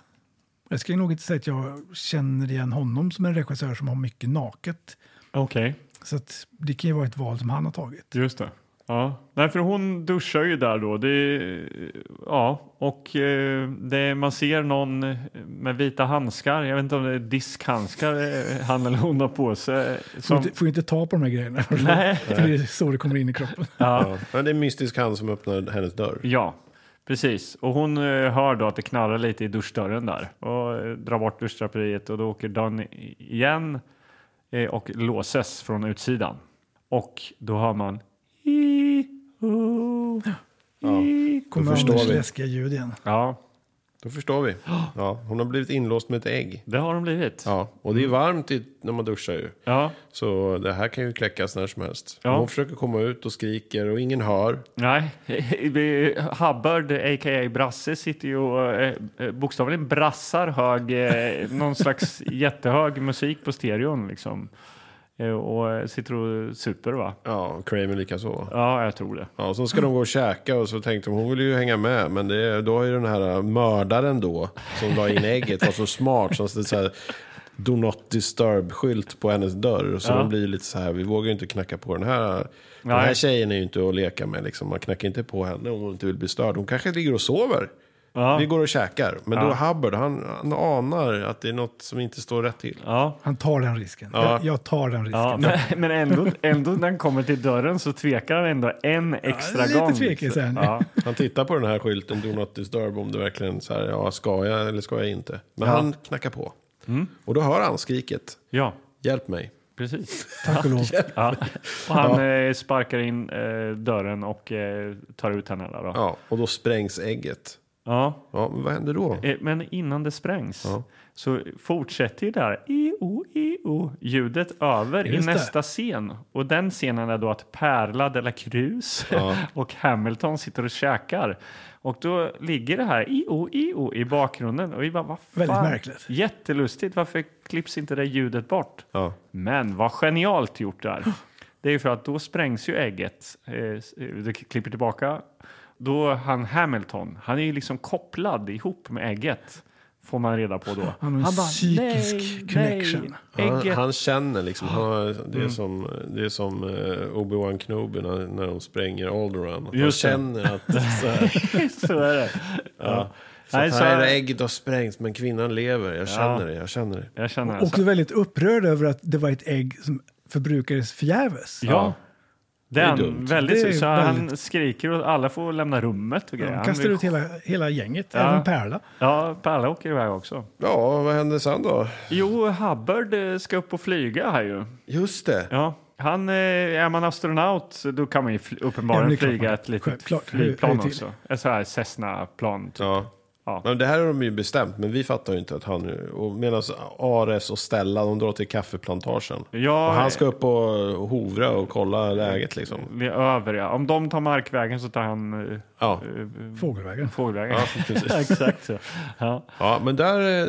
Jag ska nog inte säga att jag känner igen honom som en regissör som har mycket naket.
Okej,
Så att det kan ju vara ett val som han har tagit.
just det. Ja. Nej, för hon duschar ju där då. Det, är- ja, och eh, det, man ser någon med vita handskar. Jag vet inte om det är diskhandskar eh, han eller hon har på sig. eh,
Får,
Som,
inte, får ju inte ta på de här grejerna.
Nej.
För det är så det kommer in i kroppen.
ja.
Ja. Men det är en mystisk hand som öppnar hennes dörr.
Ja, precis. Och hon eh, hör då att det knarrar lite i duschdörren där och eh, drar bort duschdraperiet och då åker dörren i- igen eh, och låses från utsidan. Och då hör man
Kommer
förstår
Anders
vi.
läskiga ljud igen.
Ja,
Då förstår vi. Ja, hon har blivit inlåst med ett ägg.
det har de blivit. Ja,
Ja, och det är varmt i, när man duschar ju.
ja.
Så det här kan ju kläckas när som helst.
Ja.
Hon försöker komma ut och skriker och ingen hör.
nej. Vi- Hubbard, a.k.a. Brasse, sitter ju och eh, eh, bokstavligen brassar hög, eh, någon slags jättehög musik på stereon liksom. Eh, Och eh, sitter och super va?
Ja, Kramer likaså.
Ja, jag tror det.
Ja, och så ska de gå och käka och så tänkte de hon vill ju hänga med. Men det, då har ju den här mördaren då som la in ägget var så smart. Så det är så här, Do not disturb-skylt på hennes dörr. Så
Ja.
de blir ju lite så här, vi vågar ju inte knacka på den här. Den
Nej.
här tjejen är ju inte att leka med liksom. Man knackar inte på henne om hon inte vill bli störd. Hon kanske ligger och sover.
Ja.
Vi går och käkar. Men då
Ja.
Hubbard, han, han anar att det är något som inte står rätt till.
Ja,
Han tar den risken. Jag, jag tar den risken.
Ja, men, men ändå, ändå när han kommer till dörren så tvekar han ändå en extra
lite
gång.
tvekig
liksom.
sen.
Ja,
Han tittar på den här skylten Do Not Disturb om det verkligen så här, ja ska jag eller ska jag inte? Men han knackar på.
Mm.
Och då hör han skriket,
ja,
hjälp mig.
precis.
Tack och lov.
Ja. Och han eh, sparkar in eh, dörren och eh, tar ut henne där då.
Ja, och då sprängs ägget.
Ja,
Ja, men vad händer då?
eh, men innan det sprängs
Ja.
så fortsätter ju det här EO, EO ljudet över
Just
i
det.
nästa scen. Och den scenen är då att Perla de la Cruz och Hamilton sitter och käkar. Och då ligger det här EO, EO i bakgrunden. Och vi bara, vad fan?
Väldigt märkligt.
Jättelustigt, varför klipps inte det ljudet bort?
Ja.
Men vad genialt gjort där. Det är ju för att då sprängs ju ägget. Eh, s- eh, Du klipper tillbaka. Då han Hamilton, han är ju liksom kopplad ihop med ägget. Får man reda på då.
Han har en psykisk connection.
Nej,
Han,
ägget.
han känner liksom, han har, det, är
Mm.
som, det är som eh, Obi-Wan Kenobi när, när de spränger Alderaan. Han
Just det.
känner att så här,
Så är det. Ja. Nej,
att
så
här är ägget har sprängts men kvinnan lever. Jag känner det, jag känner det.
jag känner
Och du
alltså.
är väldigt upprörd över att det var ett ägg som förbrukades förgäves.
Ja. Det är
dumt.
han väldigt,
Det är
så han
väldigt-
skriker och alla får lämna rummet och grejer.
De
Han
kastar
blir-
ut hela, hela gänget,
Ja.
även Perla.
Ja, Palla åker iväg också.
Ja, vad händer sen då?
Jo, Hubbard eh, ska upp och flyga här ju.
Just det.
Ja, han, eh, är man astronaut då kan man ju fl-
Ja,
uppenbarligen
det är klart
flyga
man
ett
kan.
litet
Självklart.
flygplan
Hur- hur till?
också. Ett så här Cessna-plan. Typ.
Ja.
Ja.
Men det här har de ju bestämt, men vi fattar ju inte att han... Och medan Ares och Stella, de drar till kaffeplantagen.
Ja,
och han ska upp och hovra och kolla läget liksom.
det är över, ja. Om de tar markvägen så tar han eh,
Ja,
Fågelvägen.
fågelvägen.
ja precis.
Exakt så. Ja.
Ja, men där eh,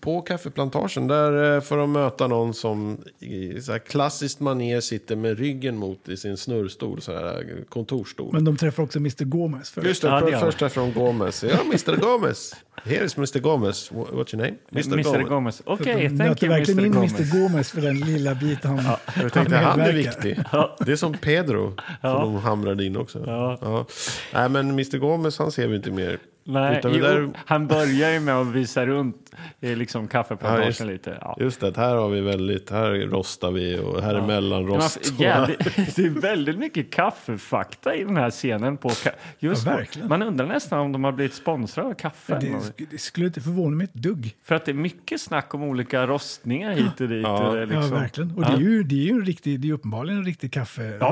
på kaffeplantagen, där eh, får de möta någon som i så här klassiskt manér sitter med ryggen mot i sin snurrstol, så här eh, kontorstol.
Men de träffar också Mr Gomez. För
Just det,
Ja, det
för,
gör
första från Gomez. Ja, Mr Gomez. Here is Mr Gomez. Wha- What's your name?
Mr Gomez. Okej,
de
thank
nöter
you
verkligen
Mr
in
Gomez.
Mr Gomez för den lilla bit han,
Jag tänkte han är
medverkar.
viktig. Det är som Pedro som de hamrade in också. Ja. Nej, men Mr Gomez han ser vi inte mer.
Nej,
Utan det
jo,
där,
Han börjar ju med att visa runt eh, liksom,
Ja, just-
kaffeplantagen lite. Ja.
just det, här har vi väldigt, här rostar vi och här är
Men man-
mellanrost. och
jävligt- det är väldigt mycket kaffefakta i den här scenen. På ka- just
Ja,
på-
verkligen.
man undrar nästan om de har blivit sponsrade av kaffe.
det, sk- det skulle inte förvåna mig ett dugg.
För att det är mycket snack om olika rostningar hit och dit. och det, liksom.
Ja, verkligen. Och det är ju, det är ju en riktig, det är uppenbarligen en riktig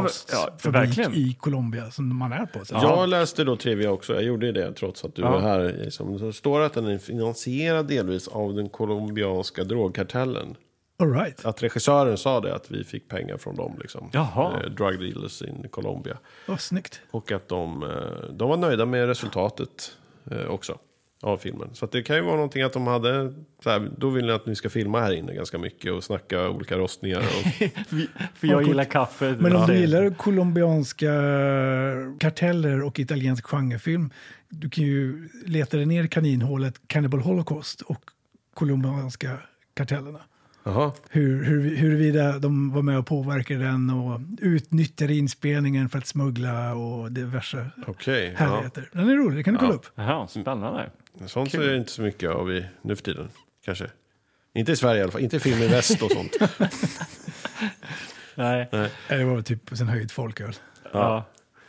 kafferostfabrik
verkligen.
i Colombia som man är på. Så.
Jag läste då Trivia också, jag gjorde ju det trots att du var här. Jason. Så står det att den är finansierad delvis av den colombianska drogkartellen.
All right.
Att regissören sa det, att vi fick pengar från dem. Liksom.
Jaha.
Eh, Drug dealers in Colombia.
Oh, snyggt.
Och att de, eh, de var nöjda med resultatet eh, också av filmen. Så att det kan ju vara någonting att de hade, så här, då vill ni att ni ska filma här inne ganska mycket och snacka olika rostningar. Och,
Vi- För jag gillar kaffe.
Men om
Ja.
du gillar colombianska karteller och italiensk genrefilm, du kan ju leta dig ner i kaninhålet Cannibal Holocaust och colombianska kartellerna.
Jaha.
Hur, hur, huruvida de var med och påverkade den och utnyttjade inspelningen för att smuggla och diverse
Okej, ja.
härligheter. Den är rolig, det kan du kolla upp.
Jaha, spännande.
Sånt är det inte så mycket av i, nu för tiden. Kanske. Inte i Sverige i alla fall, inte i film i väst och sånt.
Nej. Ja.
Eh, Det var väl typ på sin höjd folköl.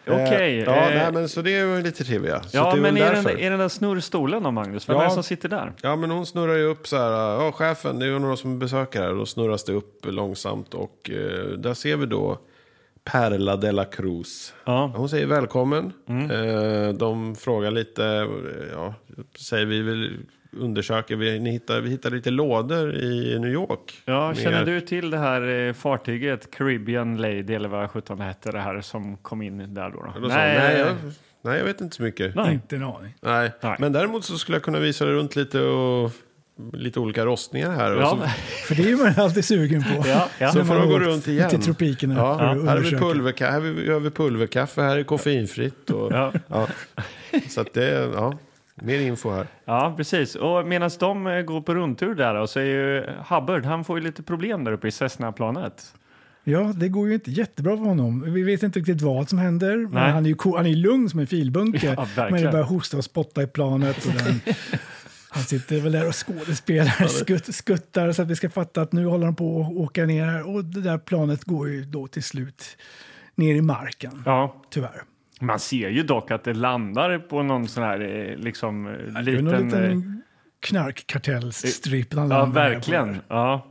Okej.
Eh, Ja,
eh,
nej, men så det är ju lite trivia. Så
ja,
det är
men
väl
är den,
därför.
är den där snurrstolen då, Magnus? Vem
Ja.
är det som sitter där?
Ja, men hon snurrar ju upp så här. Ja, chefen, det är ju några som besöker här. Och då snurras det upp långsamt och eh, där ser vi då Perla de la Cruz.
Ja. Mm.
Hon säger välkommen. Eh, de frågar lite, eh, ja, säger vi vill undersöker, vi, ni hittar, vi hittar lite lådor i New York.
Ja,
Med-
känner du till det här eh, fartyget Caribbean Lady eller vad sjutton hette det här som kom in där då? då?
Då sa hon, nej, jag, nej, jag vet inte så mycket.
Nej.
Inte en aning.
Nej.
Nej.
Men däremot så skulle jag kunna visa dig runt lite och lite olika rostningar här. Och
Ja,
så,
men-
För det är man alltid sugen på.
Ja, ja.
Så
När
får
man
de gå
åker
runt igen.
Till tropikerna
Ja,
för att
här, är vi
undersöka.
pulverka- här vi- gör vi pulverkaffe, här är koffeinfritt. Och, ja.
Ja.
Så att det, ja, mer info här.
Ja, precis. Och medan de eh, går på rundtur där då, så är ju Hubbard, han får ju lite problem där uppe i Cessna-planet.
Ja, det går ju inte jättebra för honom. Vi vet inte riktigt vad som händer.
Nej.
Men han är ju ko- han är ju lugn som en filbunke.
Ja, verkligen.
men det börjar hosta och spotta i planet. Och den, han sitter väl där och skådespelar, skutt, skuttar så att vi ska fatta att nu håller de på att åka ner. här. Och det där planet går ju då till slut ner i marken,
Ja.
tyvärr.
Man ser ju dock att det landar på någon sån här eh, liksom eh,
Det är
liten...
väl någon
eh,
liten knarkkartellsstripp.
Ja, verkligen. Ja,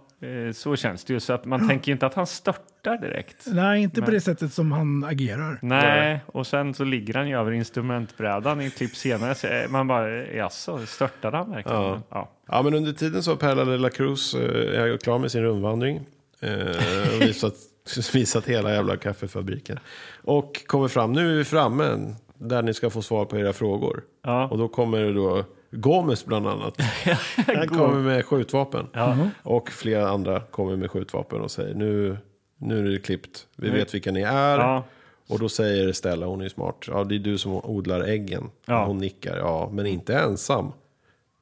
eh, så känns det ju. Så att man tänker ju inte att han störtar störtar direkt.
Nej, inte på det sättet som han agerar.
Nej, och sen så ligger han ju över instrumentbrädan i ett klipp senare. Så eh, man bara, jaså, störtade han verkligen?
Ja.
Men, ja.
Ja, men under tiden så har Perla de la Cruz eh, är klar med sin rundvandring. Eh, och visat, visat hela jävla kaffefabriken. Och kommer fram, nu är vi framme där ni ska få svar på era frågor.
Ja.
Och då kommer det då Gomes bland annat. Han kommer med skjutvapen.
Mm-hmm.
Och flera andra kommer med skjutvapen och säger nu, nu är det klippt. Vi vet vilka ni är.
Mm. Ja.
Och då säger Stella, hon är ju smart, ja det är du som odlar äggen.
Ja.
Hon nickar, ja men inte ensam.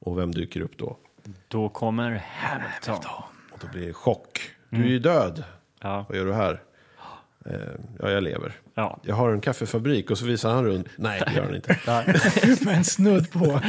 Och vem dyker upp då?
Då kommer Hamilton.
Och då blir det chock. Du är
Mm.
ju död.
Ja.
Vad gör du här? Eh, ja, jag lever.
Ja.
Jag har en kaffefabrik och så visar han runt. Nej, det gör han inte.
Men snudd på.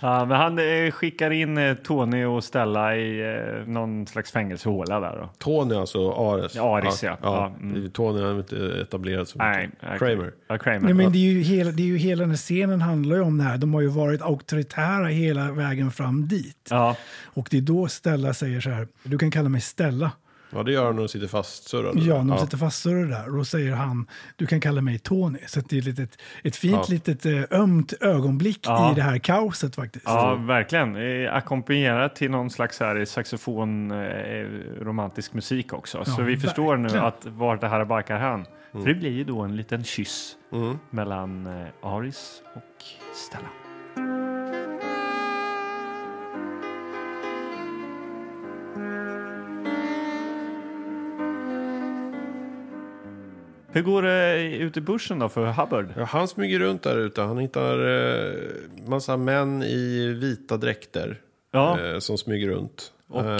Ja, men han eh, skickar in eh, Tony och Stella i eh, någon slags fängelsehåla där. Då.
Tony alltså, Ares.
Ja, Ares, ja. Ja, mm.
Tony har inte etablerat så
Nej,
mycket. Kramer.
Ja, Kramer.
Nej, men det är, ju hela, det är ju hela den här scenen handlar ju om det här. De har ju varit auktoritära hela vägen fram dit.
Ja,
Och det är då Stella säger så här, du kan kalla mig Stella.
Ja, det gör han när de sitter fastsurrade.
Ja, när de sitter fastsurrade där. Och då säger han, du kan kalla mig Tony. Så att det är ett, litet, ett fint litet eh, ömt ögonblick
Ja.
i det här kaoset faktiskt.
ja verkligen. Eh, Ackompanjerat till någon slags här saxofon eh, romantisk musik också. Så vi förstår nu
verkligen.
att vart det här barkar
Mm.
hän. För det blir ju då en liten kyss mellan eh, Aris och Stella. Hur går det ute i börsen då för Hubbard?
Ja, han smyger runt där ute. Han hittar eh, massa män i vita dräkter
Ja.
eh, som smyger runt.
Och,
Eh,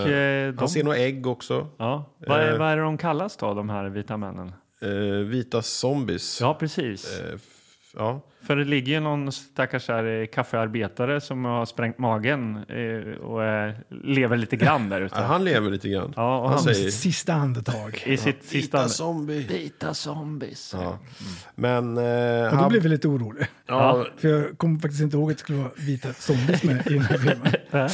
eh, de-
Han ser några ägg också.
Ja. Vad, är,
Eh.
vad är det de kallas då, de här vita männen?
Eh, vita zombies.
Ja, precis.
Eh, f- ja.
För det ligger ju någon stackars här, eh, kaffearbetare som har sprängt magen eh, och eh, lever lite grann där
Ja,
ute.
han lever lite grann.
Ja, och
han
han-
säger
Sitt Sista andetag.
I sitt sista...
vita zombie.
Vita zombies.
Ja. Men eh,
Och då
han,
blev vi lite oroliga.
ja,
För jag kommer faktiskt inte ihåg att det skulle vara vita zombies med i den här filmen.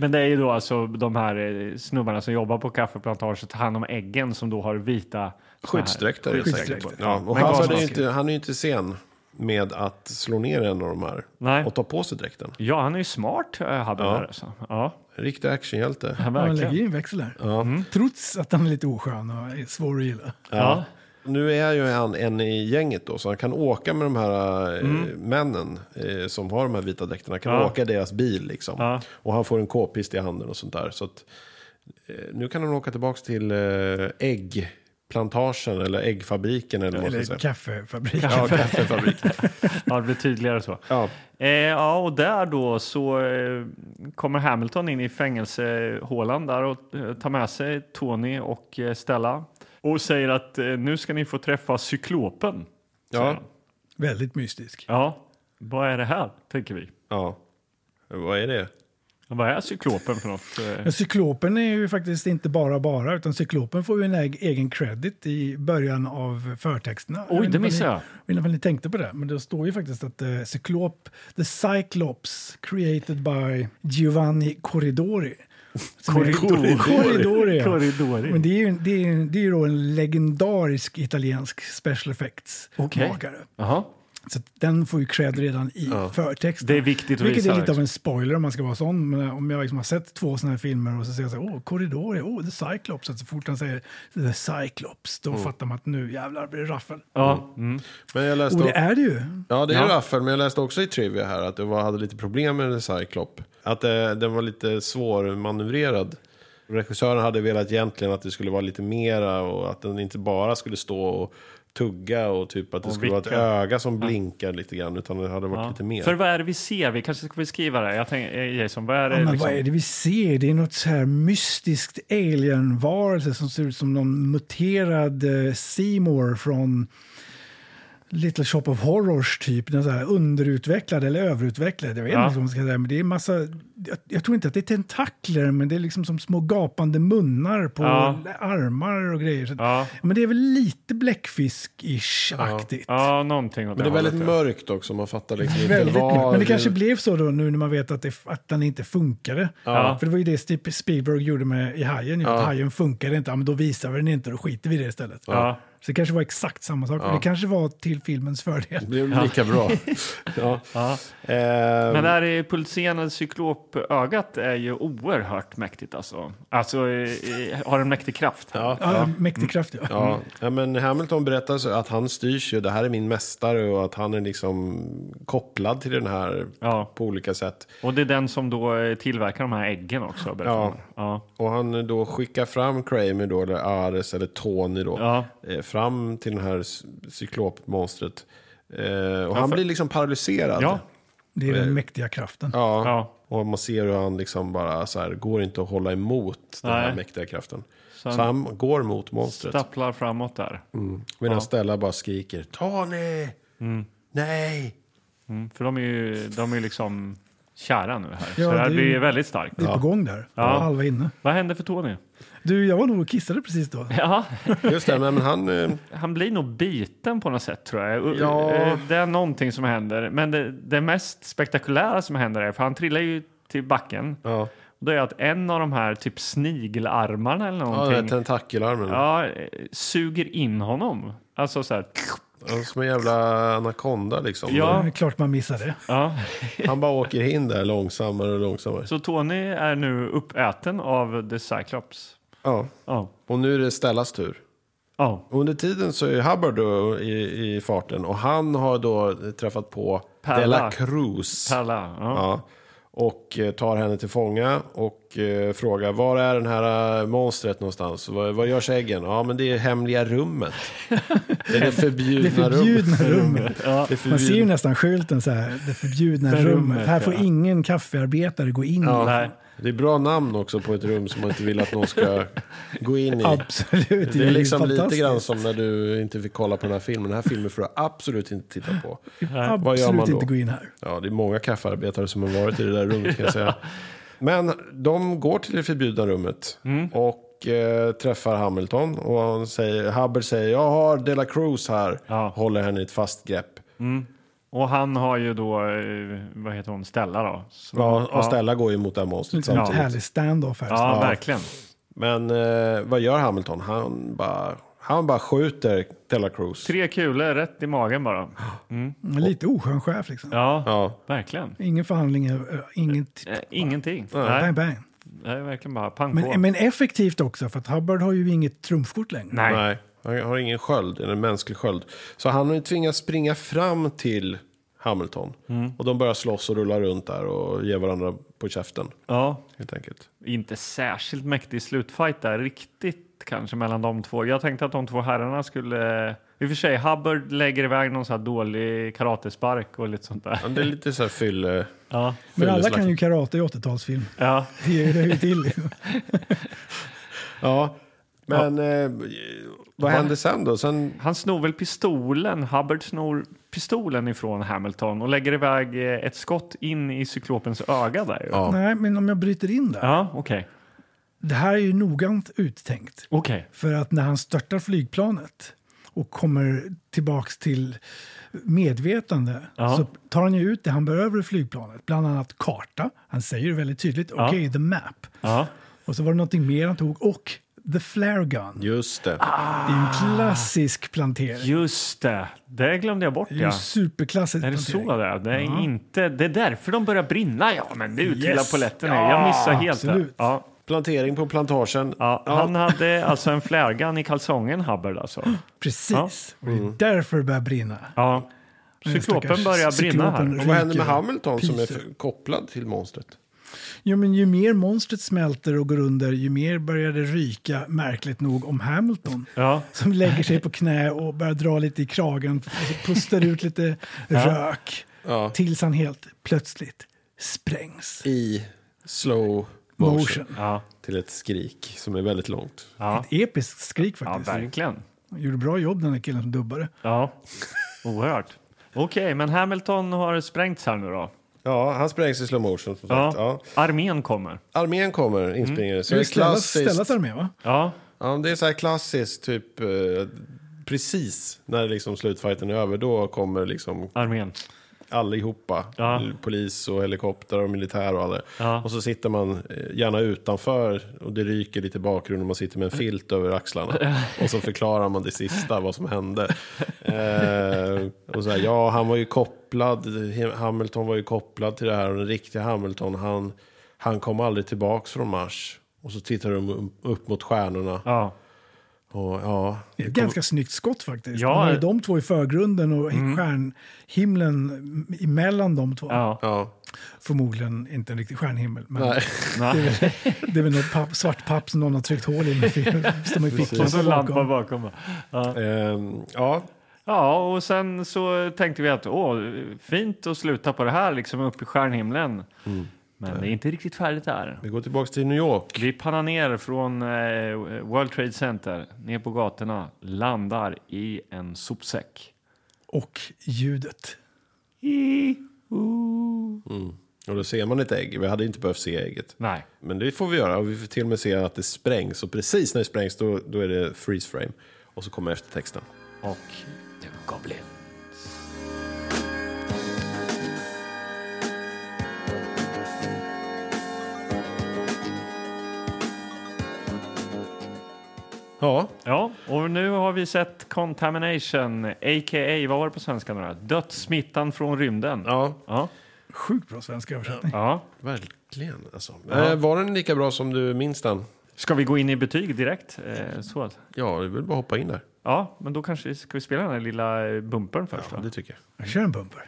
Men det är ju då alltså de här eh, snubbarna som jobbar på kaffeplantagen tar hand om äggen som då har vita...
skyddsdräkter. helt
Skyddsdräkter.
säkert. Ja, och
Men
han,
gasmasker.
är ju inte, han är ju inte sen med att slå ner en av de här
Nej.
och ta på sig dräkten.
Ja, han är ju smart, eh, Hubble. Ja. Där, alltså. ja,
En Riktig actionhjälte.
han
Han
verkligen.
lägger ju en växel där. Trots att han är lite oskön och är svår att gilla.
Ja.
Nu är ju han en i gänget då, så han kan åka med de här eh, männen eh, som har de här vita dräkterna. Han kan
Mm. Ja.
åka i deras bil liksom.
Ja.
Och han får en k-pist i handen och sånt där. Så att, eh, nu kan han åka tillbaka till eh, äggplantagen eller äggfabriken eller vad man
Eller
ska säga.
kaffefabrik.
Ja, kaffefabriken.
ja, det blir tydligare så.
ja.
Eh, ja, och där då så eh, kommer Hamilton in i fängelsehålan där och eh, tar med sig Tony och eh, Stella och säger att eh, nu ska ni få träffa cyklopen.
Ja.
Väldigt mystisk.
Ja, vad är det här, tänker vi.
ja. Vad är det?
Vad är cyklopen för något? Eh,
Men cyklopen är ju faktiskt inte bara bara, utan cyklopen får ju en eg- egen credit i början av förtexterna.
Oj,
vet inte
det
om
missade jag.
ni- vet inte om ni tänkte på det, men det står ju faktiskt att eh, cyklop, the cyclops created by Giovanni Corridori. Som är-
Corridori.
Corridori. ja.
Corridori.
Men det är ju, det är, ju- det är ju då en legendarisk italiensk special effects-makare.
Jaha.
Så att den får ju cred redan i förtexten.
Det är viktigt att
Vilket
visa,
är lite av
liksom.
en spoiler om man ska vara sån. Men om jag liksom har sett två såna här filmer och så ser jag så här, åh, Corridori, åh, The Cyclops. Så, att så fort han säger The Cyclops, då fattar man att nu jävlar blir det raffel.
Ja, mm.
Men jag läste
Och det
också-
är det ju.
Ja, det är raffel, men jag läste också i Trivia här att det var, hade lite problem med en Cyclop. Att eh, den var lite svårmanövrerad. Regissören hade velat egentligen att det skulle vara lite mera och att den inte bara skulle stå och tugga och typ att det skulle vara
vicka.
ett öga som blinkar lite grann utan det hade varit lite mer.
För vad är det vi ser? Vi kanske ska beskriva det. Jag tänker, eh, Jason, vad är det?
Ja, men
liksom?
vad är det vi ser? Det är något så här mystiskt alien-varelse som ser ut som någon muterad eh, Seymour från Little Shop of Horrors typ, den så här underutvecklade eller överutvecklade. Jag vet
Ja.
inte liksom vad man ska säga, men det är massa, jag, jag tror inte att det är tentakler, men det är liksom som små gapande munnar på
Ja.
armar och grejer. Så, att-
Ja.
Men det är väl lite bläckfisk-ish-aktigt.
Ja, någonting åt
Men det är väldigt
hållet, ja.
mörkt också, man fattar liksom inte
Väldigt mycket.
vad...
Men det kanske blev så då nu när man vet att, det, att den inte funkade.
Ja.
För det var ju det Steve Spielberg gjorde med i Hajen. ju, att
Ja.
Hajen funkade inte, ja, men då visar vi den inte, då skiter vi i det istället.
Ja.
Så det kanske var exakt samma sak.
Ja.
Det kanske var till filmens fördel.
Det blev lika bra. ja. Ehm,
Men det här är pulserande cyklopögat är ju oerhört mäktigt alltså. Alltså eh, eh, har en mäktig kraft.
ja,
Ja,
ja.
Mäktig kraft, ja.
Mm.
Ja, ja, men Hamilton berättar så att han styrs ju, det här är min mästare och att han är liksom kopplad till den här
Ja.
på olika sätt.
Och det är den som då eh, tillverkar de här äggen också. berättar
Ja.
man. Ja.
Och han då skickar fram Kramer då, eller Ares eller Tony då,
Ja.
eh, fram till den här c- cyklopmonstret. Eh, och han
för-
blir liksom paralyserad.
Ja.
Det är den mäktiga kraften.
Ja.
Ja.
Och man ser hur han liksom bara så här, går inte att hålla emot den här
Nej.
mäktiga kraften. Så
han-
han, går mot monstret. Mm.
Stapplar framåt där.
Medan Stella bara skriker Tony! Nej!
Mm, för de är ju de är ju liksom kära nu här.
Ja,
så det här
det är
blir
ju-
ju väldigt starkt.
Det är på gång där. Halva inne.
Vad händer för Tony?
Du, jag var nog och kissade precis då.
Ja,
Just det, men han... eh,
han blir nog biten på något sätt tror jag. U-
Ja.
eh, Det är någonting som händer. Men det, det mest spektakulära som händer är, för han trillar ju till backen.
Ja,
Då är det att en av de här typ snigelarmarna eller
ja den
någonting
där tentakelarmen.
ja,
Ja.
eh, suger in honom. Alltså så här.
Som en jävla anakonda liksom.
Ja.
Det är klart man missade.
Ja.
Han bara åker in där långsammare och långsammare.
Så Tony är nu uppäten av The Cyclops.
Ja.
Ja.
Och nu är det Stellas tur.
Ja.
Under tiden så är Hubbard då i, i farten och han har då träffat på
Perla.
Della Cruz.
Pärla. Ja.
Ja. Och eh, tar henne till fånga och eh, frågar var är den här eh, monstret någonstans? Vad, vad görs äggen? Ja, men det är hemliga rummet. det, är förbjudna
Det förbjudna rummet.
Det är
Man ser ju
förbjudna.
nästan skylten så här, det förbjudna rummet.
rummet,
Här får
ja.
ingen kaffearbetare gå in.
Ja.
Nej.
Det är bra namn också på ett rum som man inte vill att någon ska gå in i.
Absolut.
Det är
ju
liksom lite
fantastiskt.
grann som när du inte fick kolla på den här filmen. Den här filmen får du absolut inte titta på.
Absolut
Vad gör man då?
inte gå in här.
Ja, det är många kaffearbetare som har varit i det där rummet kan jag säga. Men de går till det förbjudna rummet och eh, träffar Hamilton. Och han säger, Hubbard säger, jag har Dela Cruz här.
Ja.
Håller henne i ett fast grepp.
Och han har ju då, eh, vad heter hon, Stella då? Så-
Ja, Mm. och Stella går ju mot det här monstret
Ett
samtidigt.
härligt Liksom, stand-off här.
Ja, verkligen.
Men eh, vad gör Hamilton? Han bara, han bara skjuter Dela Cruz.
Tre kulor rätt i magen bara.
Mm, Lite oskön chef liksom.
Ja,
Ja.
verkligen.
Ingen förhandling, eh, inget
Eh, Ingenting.
bang
Nej,
bang.
det är verkligen bara pang på.
Men, men effektivt också, för att Hubbard har ju inget trumfkort längre.
Nej.
Nej. han har ingen sköld, en mänsklig sköld. Så han har ju tvingats springa fram till Hamilton. Och de börjar slåss och rulla runt där och ge varandra på käften.
Ja,
Helt enkelt.
inte särskilt mäktig slutfight där riktigt kanske mellan de två. Jag tänkte att de två herrarna skulle... I och för sig, Hubbard lägger iväg någon så här dålig karatespark och lite sånt där.
Men det är lite så här eh, fylle...
Ja,
Men alla
fylleslagsmål.
kan ju karate i 80-talsfilm.
ja.
Det gör det ju till.
Ja. Men eh, vad händer sen då? Sen,
Han snor väl pistolen, Hubbard snor pistolen ifrån Hamilton och lägger iväg eh, ett skott in i cyklopens öga där. ju.
ja.
Nej, men om jag bryter in där.
Ja, okej.
Det här är ju noggrant uttänkt.
Okej.
För att när han störtar flygplanet och kommer tillbaks till medvetande
Ja.
så tar han ju ut det han behöver i flygplanet. Bland annat karta. Han säger ju väldigt tydligt, okej, the map.
Ja.
Och så var det någonting mer han tog och the flare gun.
Just det.
Det är ju
Ah.
en klassisk plantering.
Just det, det glömde jag bort.
Det är ju
Ja.
en superklassisk
Är det
plantering.
så det är? Det är, inte, det är därför de börjar brinna. Ja, men det är yes.
Yes.
polletten är. Jag missar helt det.
absolut.
Ja,
Plantering på plantagen.
ja. Han hade alltså en flärgan i kalsongen, Hubbard. Alltså.
Precis. Och det är
Mm.
därför det börjar brinna.
Ja. Cyklopen
Stackars
börjar brinna
cyklopen.
här.
Och vad händer med
ryker.
Hamilton som är
Pyser.
för- kopplad till monstret?
Jo, men ju mer monstret smälter och går under, ju mer börjar det ryka, märkligt nog, om Hamilton.
Ja.
Som lägger sig på knä och börjar dra lite i kragen och så pustar ut lite rök. Tills han helt plötsligt sprängs.
I slow motion.
Motion.
Ja,
Till ett skrik som är väldigt långt.
ja.
Ett episkt skrik
ja,
faktiskt.
verkligen.
Gjorde bra jobb den här killen som dubbade.
Ja. Oerhört. Okej, men Hamilton har sprängts här nu då.
Ja, han sprängs i slow motion som
Ja.
sagt. Ja.
Armén kommer.
Armén kommer inspringande. Så
Det
det
är
är
ställat,
klassiskt.
ställat armé, va?
Ja,
Ja, men det är så här klassiskt, typ eh, precis när liksom slutfighten är över. Då kommer liksom
armén.
allihopa,
Ja.
polis och helikopter och militär och alla. det.
Ja.
Och så sitter man eh, gärna utanför och det ryker lite i bakgrunden. Man sitter med en filt över axlarna och så förklarar man det sista, vad som hände. Eh, och så här, ja, han var ju kopplad. Hamilton var ju kopplad till det här och den riktiga Hamilton, han, han kom aldrig tillbaks från Mars. Och så tittar de upp mot stjärnorna.
Ja.
Och ja,
Det är ett ganska snyggt skott faktiskt.
Ja. Mm.
Man har ju de två i förgrunden och stjärnhimlen emellan de två.
ja.
ja.
Förmodligen inte en riktig stjärnhimmel, men
Nej.
Nej.
det är väl något papp, svart papp som någon har tryckt hål i med fi- som i fickan
Och så
på
lampa
bakom.
bakom. Ja.
Ehm, ja,
ja, och sen så tänkte vi att åh, fint att sluta på det här, liksom upp i stjärnhimlen. Men det är inte riktigt färdigt där.
vi går tillbaka till New York.
Vi pannar ner från eh, World Trade Center, ner på gatorna, landar i en sopsäck.
Och ljudet.
Och då ser man ett ägg. Vi hade inte behövt se ägget.
Nej.
Men det får vi göra. Och vi får till och med se att det sprängs. Och precis när det sprängs då, då är det freeze frame. Och så kommer eftertexten.
Och The Goblin.
Ja,
Ja, och nu har vi sett Contamination, a.k.a. vad var det på svenska nu då? Dödssmittan från rymden.
ja
Ja.
Sjukt bra svensk översättning.
ja.
verkligen. Alltså. Eh, var den lika bra som du minns den?
Ska vi gå in i betyg direkt? Eh, så att,
Ja, du vill bara hoppa in där.
ja, men då kanske vi ska vi spela den här lilla eh, bumpern först.
Ja,
då?
det tycker jag.
Jag kör en bumper.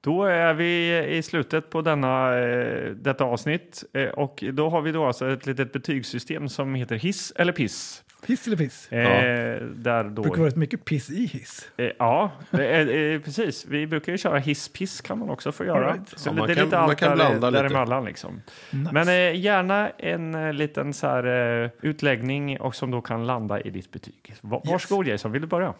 Då är vi i slutet på denna, eh, detta avsnitt eh, och då har vi då alltså ett litet betygssystem som heter hiss eller piss.
Piss eller piss?
Eh, Där då,
Det brukar vara rätt mycket piss i hiss.
eh, ja, det är, eh, precis. Vi brukar ju köra hiss-piss kan man också få göra.
Alright.
Så
Ja,
det
man
är
kan-
lite
man
allt
kan
där-
blanda lite.
däremellan liksom.
Nice.
Men eh, gärna en eh, liten så här, eh, utläggning och som då kan landa i ditt betyg. Va- Varsågod Jason, vill du börja?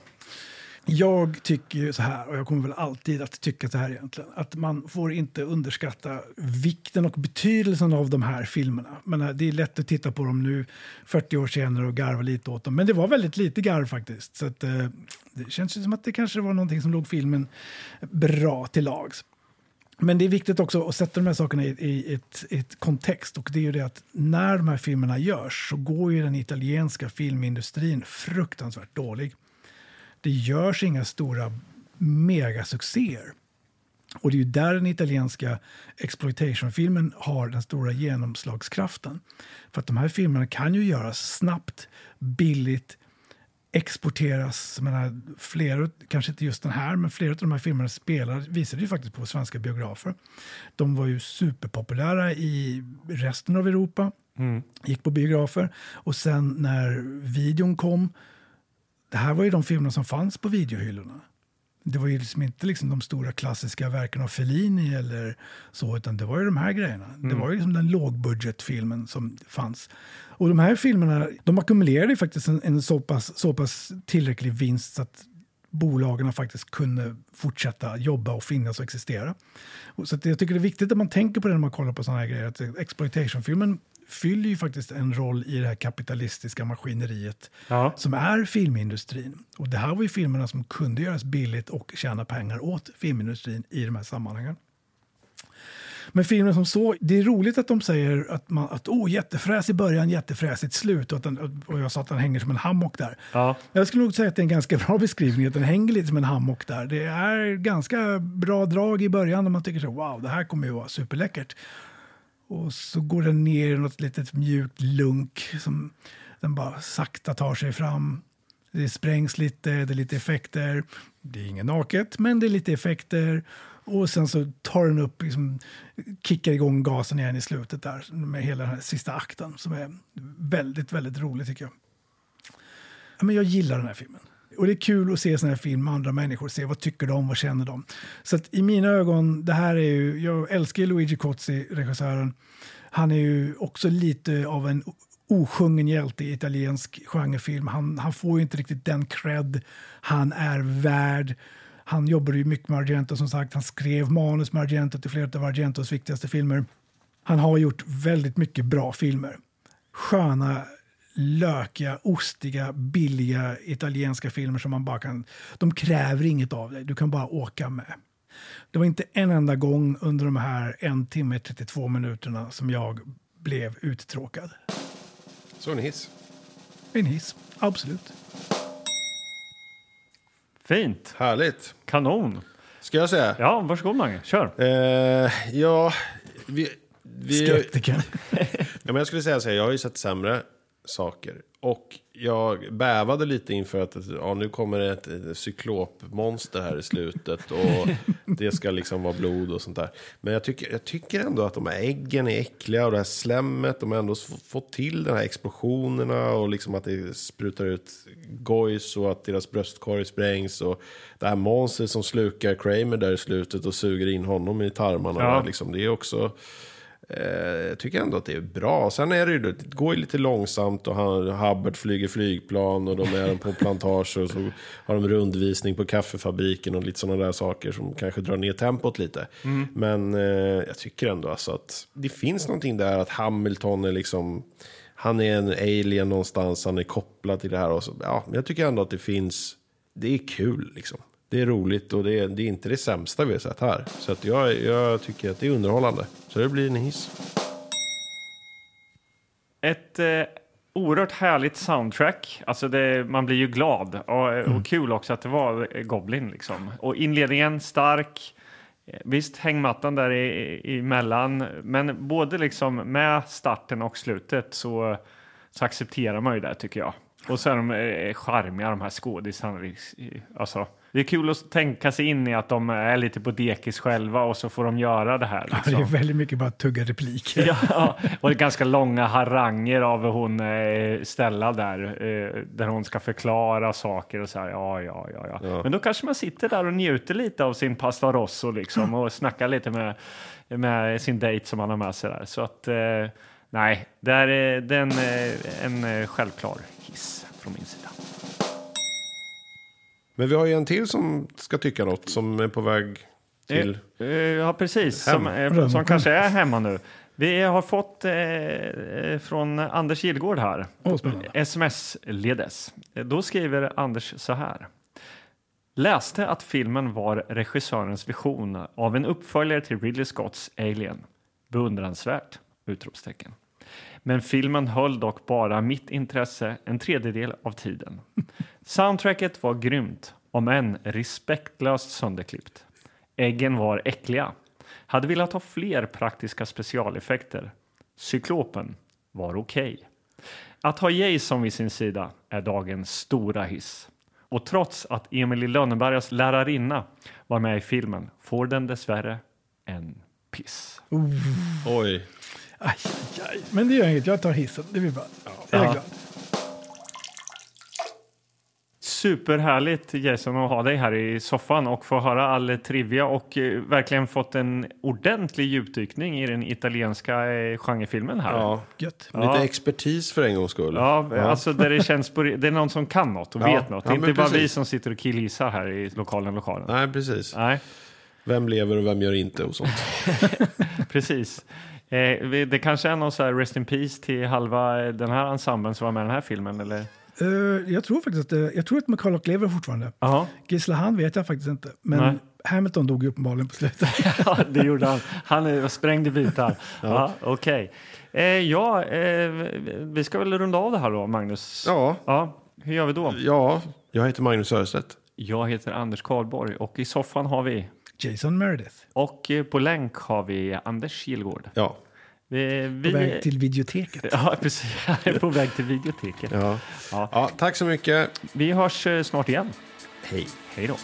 Jag tycker ju så här, och jag kommer väl alltid att tycka så här egentligen, att man får inte underskatta vikten och betydelsen av de här filmerna. Men eh, det är lätt att titta på dem nu, 40 år senare, och garva lite åt dem. Men det var väldigt lite garv faktiskt. Så att, eh, det känns ju som att det kanske var någonting som låg filmen bra till lags. Men det är viktigt också att sätta de här sakerna i, i ett, i ett kontext. Och det är ju det att när de här filmerna görs så går ju den italienska filmindustrin fruktansvärt dålig det görs inga stora megasuccéer. Och det är ju där den italienska exploitationfilmen har den stora genomslagskraften. För att de här filmerna kan ju göras snabbt, billigt, exporteras. Jag Menar, flera, kanske inte just den här, men flera av de här filmerna spelar, visade ju faktiskt på svenska biografer. De var ju superpopulära i resten av Europa, gick på biografer. Och sen när videon kom det här var ju de filmerna som fanns på videohyllorna. Det var ju liksom inte liksom de stora klassiska verken av Fellini eller så, utan det var ju de här grejerna. Det var ju liksom den lågbudgetfilmen som fanns. Och de här filmerna, de ackumulerade ju faktiskt en, en så, pass, så pass tillräcklig vinst så att bolagen faktiskt kunde fortsätta jobba och finnas och existera. Och så att jag tycker det är viktigt att man tänker på det när man kollar på sådana här grejer. Att exploitationfilmen fyller ju faktiskt en roll i det här kapitalistiska maskineriet
Ja.
som är filmindustrin. Och det här var ju filmerna som kunde göras billigt och tjäna pengar åt filmindustrin i de här sammanhangen. Men filmen som så, det är roligt att de säger att, man, att oh, jättefräs i början, jättefräsigt slut och, att den, och jag sa att den hänger som en hammock där.
Ja.
Jag skulle nog säga att det är en ganska bra beskrivning, att den hänger lite som en hammock där. Det är ganska bra drag i början när man tycker så, wow, det här kommer ju vara superläckert. Och så går den ner i något litet mjukt lunk som den bara sakta tar sig fram. Det sprängs lite, det är lite effekter. Det är inget naket, men det är lite effekter. Och sen så tar den upp, liksom, kickar igång gasen igen i slutet där med hela den här sista akten som är väldigt, väldigt rolig tycker jag. Ja, men jag gillar den här filmen. Och det är kul att se såna här film med andra människor, se vad tycker de, vad känner de. Så att i mina ögon, det här är ju, jag älskar ju Luigi Cozzi, regissören. Han är ju också lite av en osjungen hjälte i italiensk genrefilm. Han, han får ju inte riktigt den cred han är värd. Han jobbade ju mycket med Argento som sagt. Han skrev manus med Argento till flera av Argentos viktigaste filmer. Han har gjort väldigt mycket bra filmer. Sköna, lökiga, ostiga, billiga italienska filmer som man bara kan... De kräver inget av dig, du kan bara åka med. Det var inte en enda gång under de här en timme 32 minuterna som jag blev uttråkad.
Så en hiss.
En hiss, absolut.
Fint.
Härligt.
Kanon.
Ska jag säga?
Ja, varsågod Mange. Kör.
Eh, ja, vi... vi
Skeptiker.
Ja, men jag skulle säga så här, jag har ju sett sämre saker. Och jag bävade lite inför att ja, nu kommer det ett, ett cyklopmonster här i slutet. Och det ska liksom vara blod och sånt där. Men jag tycker, jag tycker ändå att de här äggen är äckliga och det här slemmet. De har ändå s- fått till de här explosionerna och liksom att det sprutar ut gojs och att deras bröstkorg sprängs. Och det här monstret som slukar Kramer där i slutet och suger in honom i tarmarna.
Ja.
Liksom, det är också... Eh, Jag tycker ändå att det är bra. Sen är det ju, det går ju lite långsamt och han, Hubbard flyger flygplan och de är på plantager och så har de rundvisning på kaffefabriken och lite sådana där saker som kanske drar ner tempot lite. Men eh, jag tycker ändå alltså att det finns någonting där att Hamilton är liksom, han är en alien någonstans, han är kopplad till det här och så. Ja, men jag tycker ändå att det finns, det är kul liksom. Det är roligt och det är, det är inte det sämsta vi har sett här. Så att jag, jag tycker att det är underhållande. Så det blir en hiss.
Ett eh, oerhört härligt soundtrack. Alltså det, man blir ju glad. Och,
Mm.
och kul också att det var eh, Goblin. Liksom. Och inledningen stark. Eh, Visst, hängmattan där i- i- emellan. Men både liksom med starten och slutet så, så accepterar man ju det, tycker jag. Och så är de eh, charmiga, de här skådisarna. liks- i- Alltså, det är kul att tänka sig in i att de är lite på dekis själva och så får de göra det här.
Det
Liksom.
är väldigt mycket bara tugga repliker.
Ja, och det är ganska långa haranger av hon eh, Stella där, eh, där hon ska förklara saker och så här. Ja, ja, ja, ja. Men då kanske man sitter där och njuter lite av sin pasta rosso liksom och snackar lite med, med sin dejt som man har med sig där. Så att eh, nej, det här är det är en, eh, en eh, självklar hiss från min sida.
Men vi har ju en till som ska tycka något, som är på väg till...
Eh, eh, Ja, precis. Som, eh,
Hem.
som kanske är hemma nu. Vi har fått eh, eh, från Anders Gillgård här.
Åh, spännande.
Sms-ledes. Eh, Då skriver Anders så här. Läste att filmen var regissörens vision av en uppföljare till Ridley Scotts Alien. Beundransvärt! Utropstecken. Men filmen höll dock bara mitt intresse en tredjedel av tiden. Soundtracket var grymt, om än respektlöst sönderklippt. Äggen var äckliga. Hade velat ha fler praktiska specialeffekter. Cyklopen var okej. Att ha Jason vid sin sida är dagens stora hiss. Och trots att Emily Lönnebergas lärarinna var med i filmen får den dessvärre en piss.
Oj.
Aj, aj, aj. Men det gör inget, jag tar hissen. Det blir bra. Jag är
Ja.
glad.
Superhärligt Jason att ha dig här i soffan och få höra all trivia och eh, verkligen fått en ordentlig djupdykning i den italienska eh, genrefilmen här.
Ja.
Gött.
Ja.
Lite expertis för en gångs skull.
Ja, alltså där det känns på, det är någon som kan något och
Ja,
vet något. Det är
ja,
inte
men
bara vi
precis.
som sitter och killgissar här i lokalen, lokalen.
Nej, precis.
Nej,
Vem lever och vem gör inte och sånt.
precis. Eh, vi- det kanske är någon så här rest in peace till halva eh, den här ensemblen som var med i den här filmen eller?
Eh, jag tror faktiskt att, eh, jag tror att McCulloch lever fortfarande.
Ja,
Gislahan vet jag faktiskt inte. Men
Nej.
Hamilton dog ju uppenbarligen på slutet.
det gjorde han. Han eh, sprängde bitar. Ja, okej. Eh, ja, eh, vi ska väl runda av det här då, Magnus?
Ja.
ja. Hur gör vi då?
Ja, jag heter Magnus Örestedt.
Jag heter Anders Karlborg och i soffan har vi
Jason Meredith.
och eh, på länk har vi Anders Kilgård.
Ja.
Vi,
På
vi,
väg till videoteket.
Ja, precis. Han är på väg till videoteket.
Ja.
Ja.
ja, tack så mycket.
Vi hörs eh, snart igen.
Hej.
Hej då.